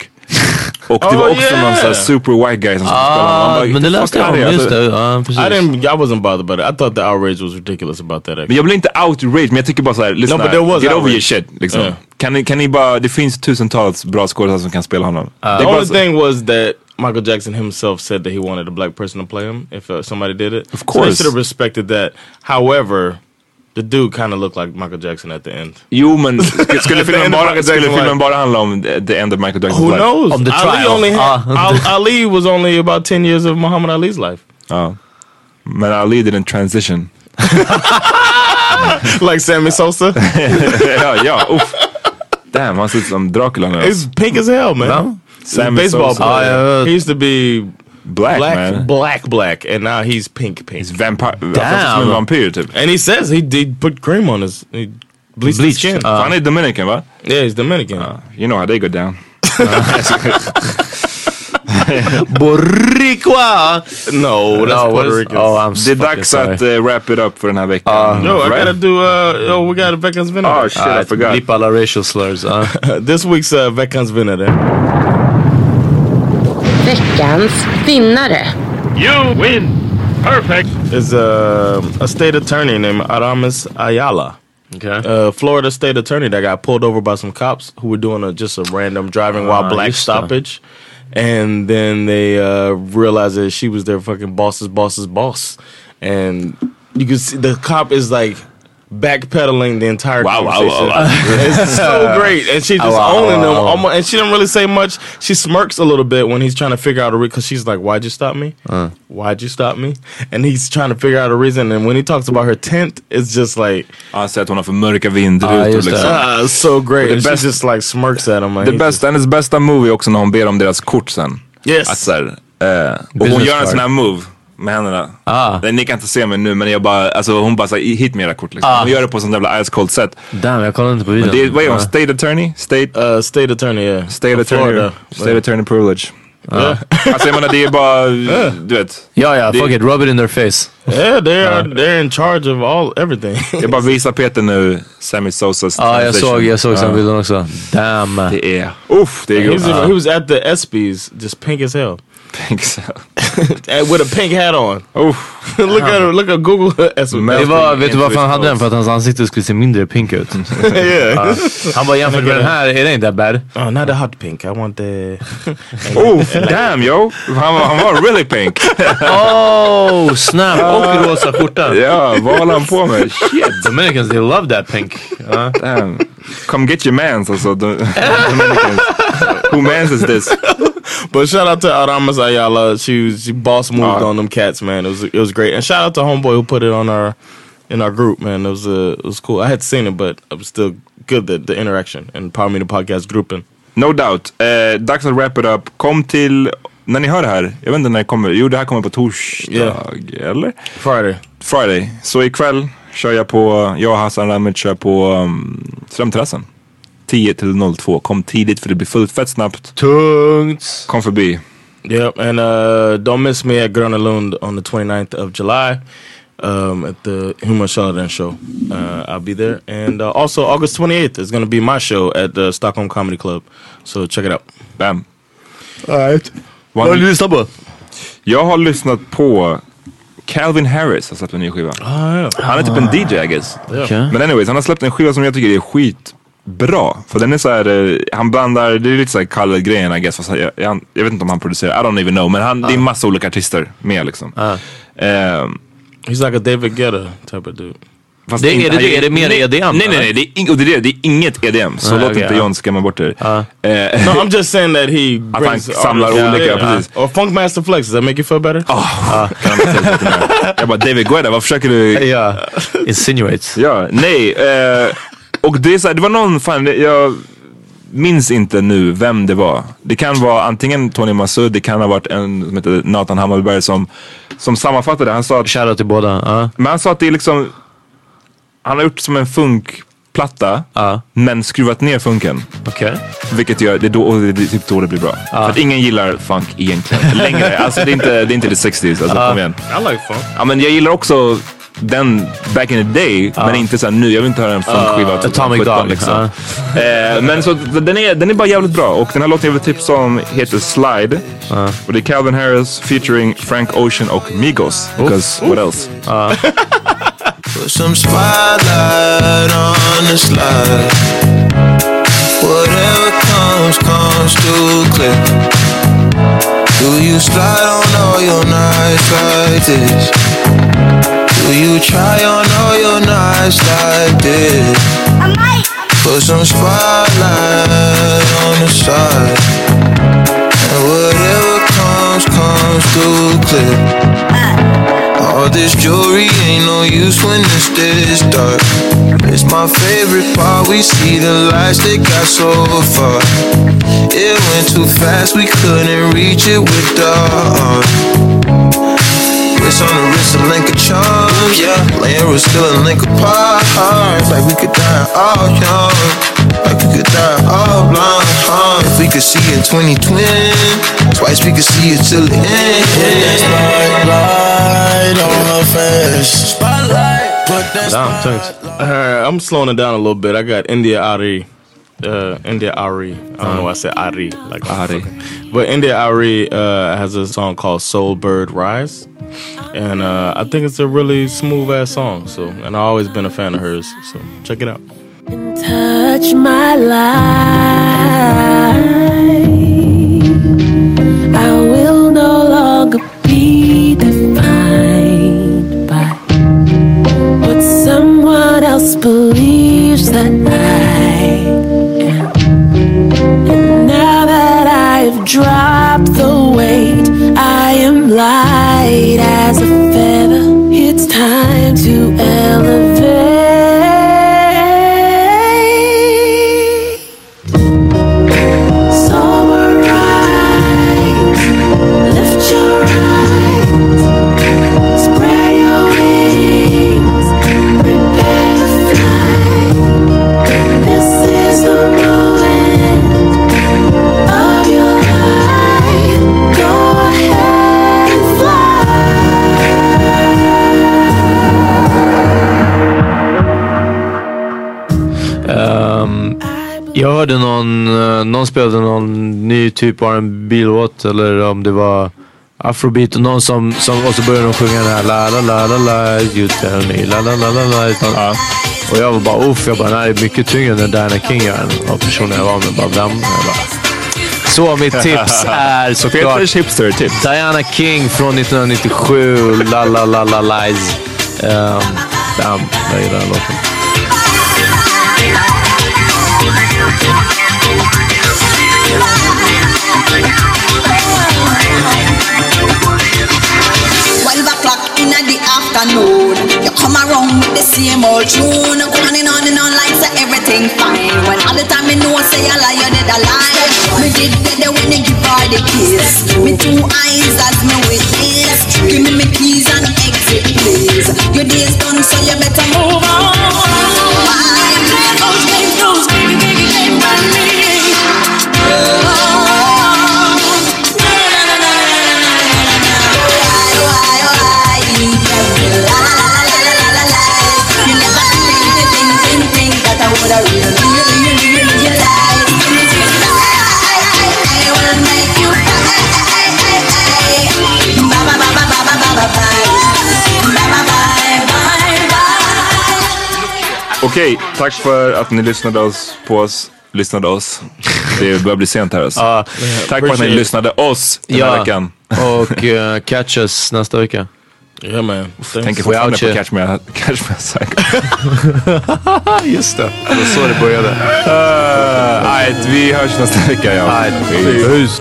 Speaker 4: Och det var
Speaker 6: Oh,
Speaker 4: också någon
Speaker 6: yeah.
Speaker 4: sån här super white guy som skulle spela honom. Man bara,
Speaker 3: Ah, men det
Speaker 4: "Get the
Speaker 3: läste jag
Speaker 4: fuck out
Speaker 3: om,
Speaker 4: of here."
Speaker 3: just
Speaker 4: Alltså,
Speaker 3: det. Ja, precis.
Speaker 6: I didn't. I wasn't bothered by it. I thought the outrage was ridiculous about that.
Speaker 4: Men jag blir inte outraged, men jag tycker bara såhär, lyssna,
Speaker 6: No, but there was
Speaker 4: get over
Speaker 6: outrage.
Speaker 4: your shit. Liksom.
Speaker 6: Yeah.
Speaker 4: Kan, ni, kan ni bara, det finns tusentals bra skådespelare som kan spela honom.
Speaker 3: Uh,
Speaker 4: det
Speaker 6: the
Speaker 4: är bara
Speaker 6: only
Speaker 4: så-
Speaker 6: thing was that Michael Jackson himself said that he wanted a black person to play him if uh, somebody did it. Of
Speaker 4: course.
Speaker 6: they should have respected that. However, the dude kind of looked like Michael Jackson at the end.
Speaker 4: Jo men sk- skulle,
Speaker 6: At the
Speaker 4: filmen
Speaker 6: end of
Speaker 4: bara,
Speaker 6: Michael
Speaker 4: skulle
Speaker 6: Jackson's
Speaker 4: filmen
Speaker 6: life.
Speaker 4: bara handla om the the end of Michael Jackson's
Speaker 6: Who
Speaker 4: life?
Speaker 6: knows?
Speaker 3: Om the
Speaker 6: Ali
Speaker 3: trial.
Speaker 6: only had,
Speaker 3: Ah.
Speaker 6: Al- Ali was only about ten years of Muhammad Ali's life.
Speaker 4: Ja. Men Ali didn't transition.
Speaker 6: like Sammy Sosa,
Speaker 4: ja, ja, uff. Damn, han ser ut som Dracula nu.
Speaker 6: it's pink as hell, man.
Speaker 3: Ja.
Speaker 4: Sammy
Speaker 6: baseball
Speaker 4: Sosa.
Speaker 6: player.
Speaker 3: Ah, yeah.
Speaker 6: He used to be
Speaker 4: Black,
Speaker 6: black,
Speaker 4: man.
Speaker 6: black, black, and now he's pink, pink.
Speaker 4: He's vampire. Damn.
Speaker 3: Damn. Uh.
Speaker 4: Som en vampyr typ.
Speaker 6: And he says he did put cream on his, he bleached,
Speaker 3: Bleached,
Speaker 6: his skin.
Speaker 3: ah.
Speaker 4: Han är Dominican va?
Speaker 6: yeah, he's Dominican.
Speaker 4: You know how they go down.
Speaker 3: Boricua!
Speaker 6: no, that's
Speaker 3: No, what
Speaker 6: Puerto
Speaker 3: is-
Speaker 6: Rican.
Speaker 3: oh, I'm
Speaker 4: Det är
Speaker 3: fucking
Speaker 4: dags
Speaker 3: sorry.
Speaker 4: att eh, wrap it up för den här veckan.
Speaker 6: Yo, I
Speaker 4: Right?
Speaker 6: gotta do. Uh, yo, we got a Veckans
Speaker 4: Oh
Speaker 6: Vinada.
Speaker 4: shit, I forgot.
Speaker 3: Blipp alla racial slurs. ja.
Speaker 6: this week's uh, Veckans Vinada.
Speaker 8: Veckans vinnare.
Speaker 6: is uh, a state attorney named Aramis Ayala.
Speaker 3: Okej.
Speaker 6: Uh, Florida state attorney that got pulled over by some cops who were doing a, just a random driving while
Speaker 3: Ah,
Speaker 6: black
Speaker 3: just that.
Speaker 6: stoppage. And then they uh, realized that she was their fucking boss's boss's boss. And you can see the cop is like backpedaling the entire
Speaker 4: Wow, wow,
Speaker 6: conversation.
Speaker 4: wow, wow.
Speaker 6: it's so great. And she's just
Speaker 3: Wow, wow,
Speaker 6: owning them.
Speaker 3: wow, wow.
Speaker 6: Almost, and she didn't really say much. She smirks a little bit when he's trying to figure out a reason. Because she's like, why'd you stop me? Why'd you stop me? And he's trying to figure out a reason. And when he talks about her tent, it's just like,
Speaker 4: Han säger att hon har för mörka vindrutor
Speaker 3: Ah, just det.
Speaker 4: liksom.
Speaker 6: ah, it's so great.
Speaker 4: The
Speaker 6: And she
Speaker 4: best-
Speaker 6: just like smirks at him. Like,
Speaker 4: Det
Speaker 6: he's
Speaker 4: bästa, hennes bästa move är också när hon ber om deras kort sen.
Speaker 6: Yes.
Speaker 4: Att så här, eh, och hon
Speaker 3: Business
Speaker 4: gör en sån här
Speaker 3: card.
Speaker 4: move med händerna.
Speaker 3: Ah.
Speaker 4: Nej, Ni kan inte se mig nu men jag bara, alltså hon bara så här, hit med era kort liksom.
Speaker 3: Ah.
Speaker 4: Hon gör det på sånt jävla ice cold sätt.
Speaker 3: Damn, jag kollade inte på
Speaker 4: Men
Speaker 3: videon.
Speaker 4: det, är- vad är hon?
Speaker 3: Ja.
Speaker 4: State attorney? State,
Speaker 6: just- uh, state attorney, yeah.
Speaker 4: state
Speaker 6: Of
Speaker 4: attorney?
Speaker 6: Florida.
Speaker 4: State attorney privilege.
Speaker 6: Ah.
Speaker 4: alltså jag menar det är bara,
Speaker 6: Eh.
Speaker 4: du vet.
Speaker 3: Ja, ja,
Speaker 4: det-
Speaker 3: fuck it, rub it in their face.
Speaker 6: Yeah, they are, they're in charge of all everything.
Speaker 4: Jag bara visar Peter nu, Sammy Sosas
Speaker 3: Ja, Ah, jag
Speaker 4: transition.
Speaker 3: såg, jag såg
Speaker 4: Ja.
Speaker 3: sen bilden också. Damn.
Speaker 4: Det är, uff det är
Speaker 6: he,
Speaker 4: grovt.
Speaker 6: was, he was at the ESPYs, just pink as hell, and with a pink hat on.
Speaker 4: Uff.
Speaker 6: look at her, look at Google
Speaker 3: Det
Speaker 6: ESPYs.
Speaker 3: var, vet du varför han hade den? För att hans ansikte skulle se mindre pink ut.
Speaker 6: yeah.
Speaker 3: Han bara jämfört med den här, är det inte that bad?
Speaker 6: Oh, not the hot pink. I want the.
Speaker 4: Oof, damn yo! Han var, han var really pink.
Speaker 3: Oh snap! Och rosa skjorta.
Speaker 4: Ja, vad håller han på med? Shit,
Speaker 3: Dominicans they love that pink. Ja.
Speaker 4: damn. Come get your mans alltså. De- Dominicans. Who mans is this?
Speaker 6: But shout out to Aramis Ayala. She was, she boss moved
Speaker 4: Alright.
Speaker 6: on them cats, man. It was it was great. And shout out to homeboy who put it on our in our group, man. It was uh, it was cool. I had seen it, but it was still good the, the interaction and Power Meter podcast grouping.
Speaker 4: No doubt. Eh, dags att wrap it up. Kom till, när ni hör det här, jag vet inte när det kommer. Jo, det här kommer på torsdag,
Speaker 6: Yeah.
Speaker 4: eller?
Speaker 6: Friday.
Speaker 4: Friday. Så ikväll, kör jag på, jag och Hassan Ramit kör på um, Strömterrassen. 10 till 02. Kom tidigt för det blir fullt fett snabbt.
Speaker 6: Tungt.
Speaker 4: Kom förbi.
Speaker 6: Yep, and uh, don't miss me at Gröna Lund on the 29th of July um, at the Humor Sheldon show. Uh, I'll be there. And uh, also, August 28th is going to be my show at the Stockholm Comedy Club. So check it out.
Speaker 4: Bam.
Speaker 6: Alright.
Speaker 4: Vad har du lyssnat
Speaker 6: på?
Speaker 4: Jag har lyssnat på Calvin Harris har släppt en ny skiva. Han är typ en DJ I guess.
Speaker 6: Ja. Okej.
Speaker 4: Men anyways, han har släppt en skiva som jag tycker är skitbra. För den är så här, eh, han blandar, det är lite såhär Kalle-grejen I guess. Fast jag, jag, jag vet inte om han producerar, I don't even know. Men han, det är massa olika artister med liksom. Ehm,
Speaker 6: He's like a David Guetta type of dude.
Speaker 4: Fast inte- han gör-
Speaker 6: E
Speaker 4: nej, Nej, nej, nej. Det är, ing- och det, är, det, det är inget EDM. Så
Speaker 6: Nej,
Speaker 4: låt
Speaker 6: Ah, okej,
Speaker 4: inte
Speaker 6: ja. Ah.
Speaker 4: John skrämma bort er. Eh,
Speaker 6: no, I'm just saying that he
Speaker 4: Att han
Speaker 6: brings
Speaker 4: samlar
Speaker 6: Yeah,
Speaker 4: olika,
Speaker 6: yeah.
Speaker 4: precis.
Speaker 6: Or Funk Master Flex, does that make you feel better?
Speaker 4: Jag bara, David Guetta, vad försöker du?
Speaker 3: Ja, insinuates.
Speaker 4: Ja, nej. Eh, och det är så här, det var någon, fan, det- jag minns inte nu vem det var. Det kan vara antingen Tony Massoud, det kan ha varit en som heter Nathan Hammarberg som, som sammanfattade. Han sa att,
Speaker 3: Shoutout till båda. uh. ja.
Speaker 4: men han sa att det är liksom, han har gjort som en funkplatta, men skruvat ner funken.
Speaker 3: Okej.
Speaker 4: Vilket gör, det är, då, och det är typ då det blir bra. För att ingen gillar funk egentligen längre. alltså det är inte, det är inte the 60s, alltså
Speaker 6: Ja.
Speaker 4: kom igen.
Speaker 6: I like funk.
Speaker 4: Ja men jag gillar också den back in the day, men inte såhär nu. Jag vill inte höra en funkskiva
Speaker 3: Ah,
Speaker 4: av 2017
Speaker 3: Atomic Dog,
Speaker 4: liksom.
Speaker 3: ah.
Speaker 4: Eh, men så d- den är, den är bara jävligt bra. Och den här låten jag vill tipsa om heter Slide. Och det är Calvin Harris featuring Frank Ocean och Migos. Because what else?
Speaker 9: Put some spotlight on the slide. Whatever comes, comes too clear. Do you slide on all your knives like this? Do you try on all your knives like this? Put some spotlight on the side. And whatever comes, comes too clear. All this jewelry ain't no use when it's this dark. It's my favorite part. We see the lights that got so far. It went too fast, we couldn't reach it with the arm. Wrist on the wrist, a link of charms, yeah. Laying was still a link apart. Like we could die all young. Like we could die all blind. Huh? If we could see in 2020, twice we could see it till the end. Spotlight on her face. Spotlight, put that
Speaker 6: Damn, Oh, thanks. Uh, I'm slowing it down a little bit. I got India Ari. Uh, India Ari. I don't know why I said Ari. Like Ari. But India Ari uh, has a song called Soul Bird Rise. And uh, I think it's a really smooth ass song. So, And I've always been a fan of hers. So check it out.
Speaker 5: Touch my life. I will no longer be defined by what someone else believes that I am. And now that I have dropped the weight, I am light as a feather. It's time to elevate. Sober rise, lift your eyes, spread your wings, prepare to fly. This is the moment of your life. Go ahead and
Speaker 3: Ehm, jag hörde någon, eh, någon spelade någon ny typ av en bilåt eller om det var afrobeat och någon som, som och så började de sjunga den här la la la la la you tell me la la la la la. utan- Och jag var bara uff, jag bara nej, det är mycket tyngre än den Diana King gör än av personen jag var med. Bara, vem? Jag bara, så mitt tips är såklart...
Speaker 4: Peters hipster-tips.
Speaker 3: Diana King från 1997, la la la la lies. Um, damn, jag gillar den låten.
Speaker 10: Twelve o'clock in the afternoon, you come around with the same old tune. On and on and on like so everything fine. When all the time you know say a lie, you did a lie. Me did that when you give her the kiss. Me two eyes as me witness. Give me me keys and exit please. Your days done so you you better move on. Play those, play those, baby, baby, play by me.
Speaker 4: Okej, tack för att ni lyssnade oss på oss. Lyssnade oss. Det börjar bli sent här alltså.
Speaker 3: Ja,
Speaker 4: tack för att ni
Speaker 3: appreciate it.
Speaker 4: lyssnade oss den här
Speaker 3: Ja,
Speaker 4: veckan.
Speaker 3: och eh, catch us nästa vecka.
Speaker 6: Yeah man.
Speaker 4: Tänker fortfarande på Catch Me, catch me Psycho.
Speaker 3: Just det, det var så det började.
Speaker 4: Eh, Nej, vi hörs nästa vecka. Ja. Peace.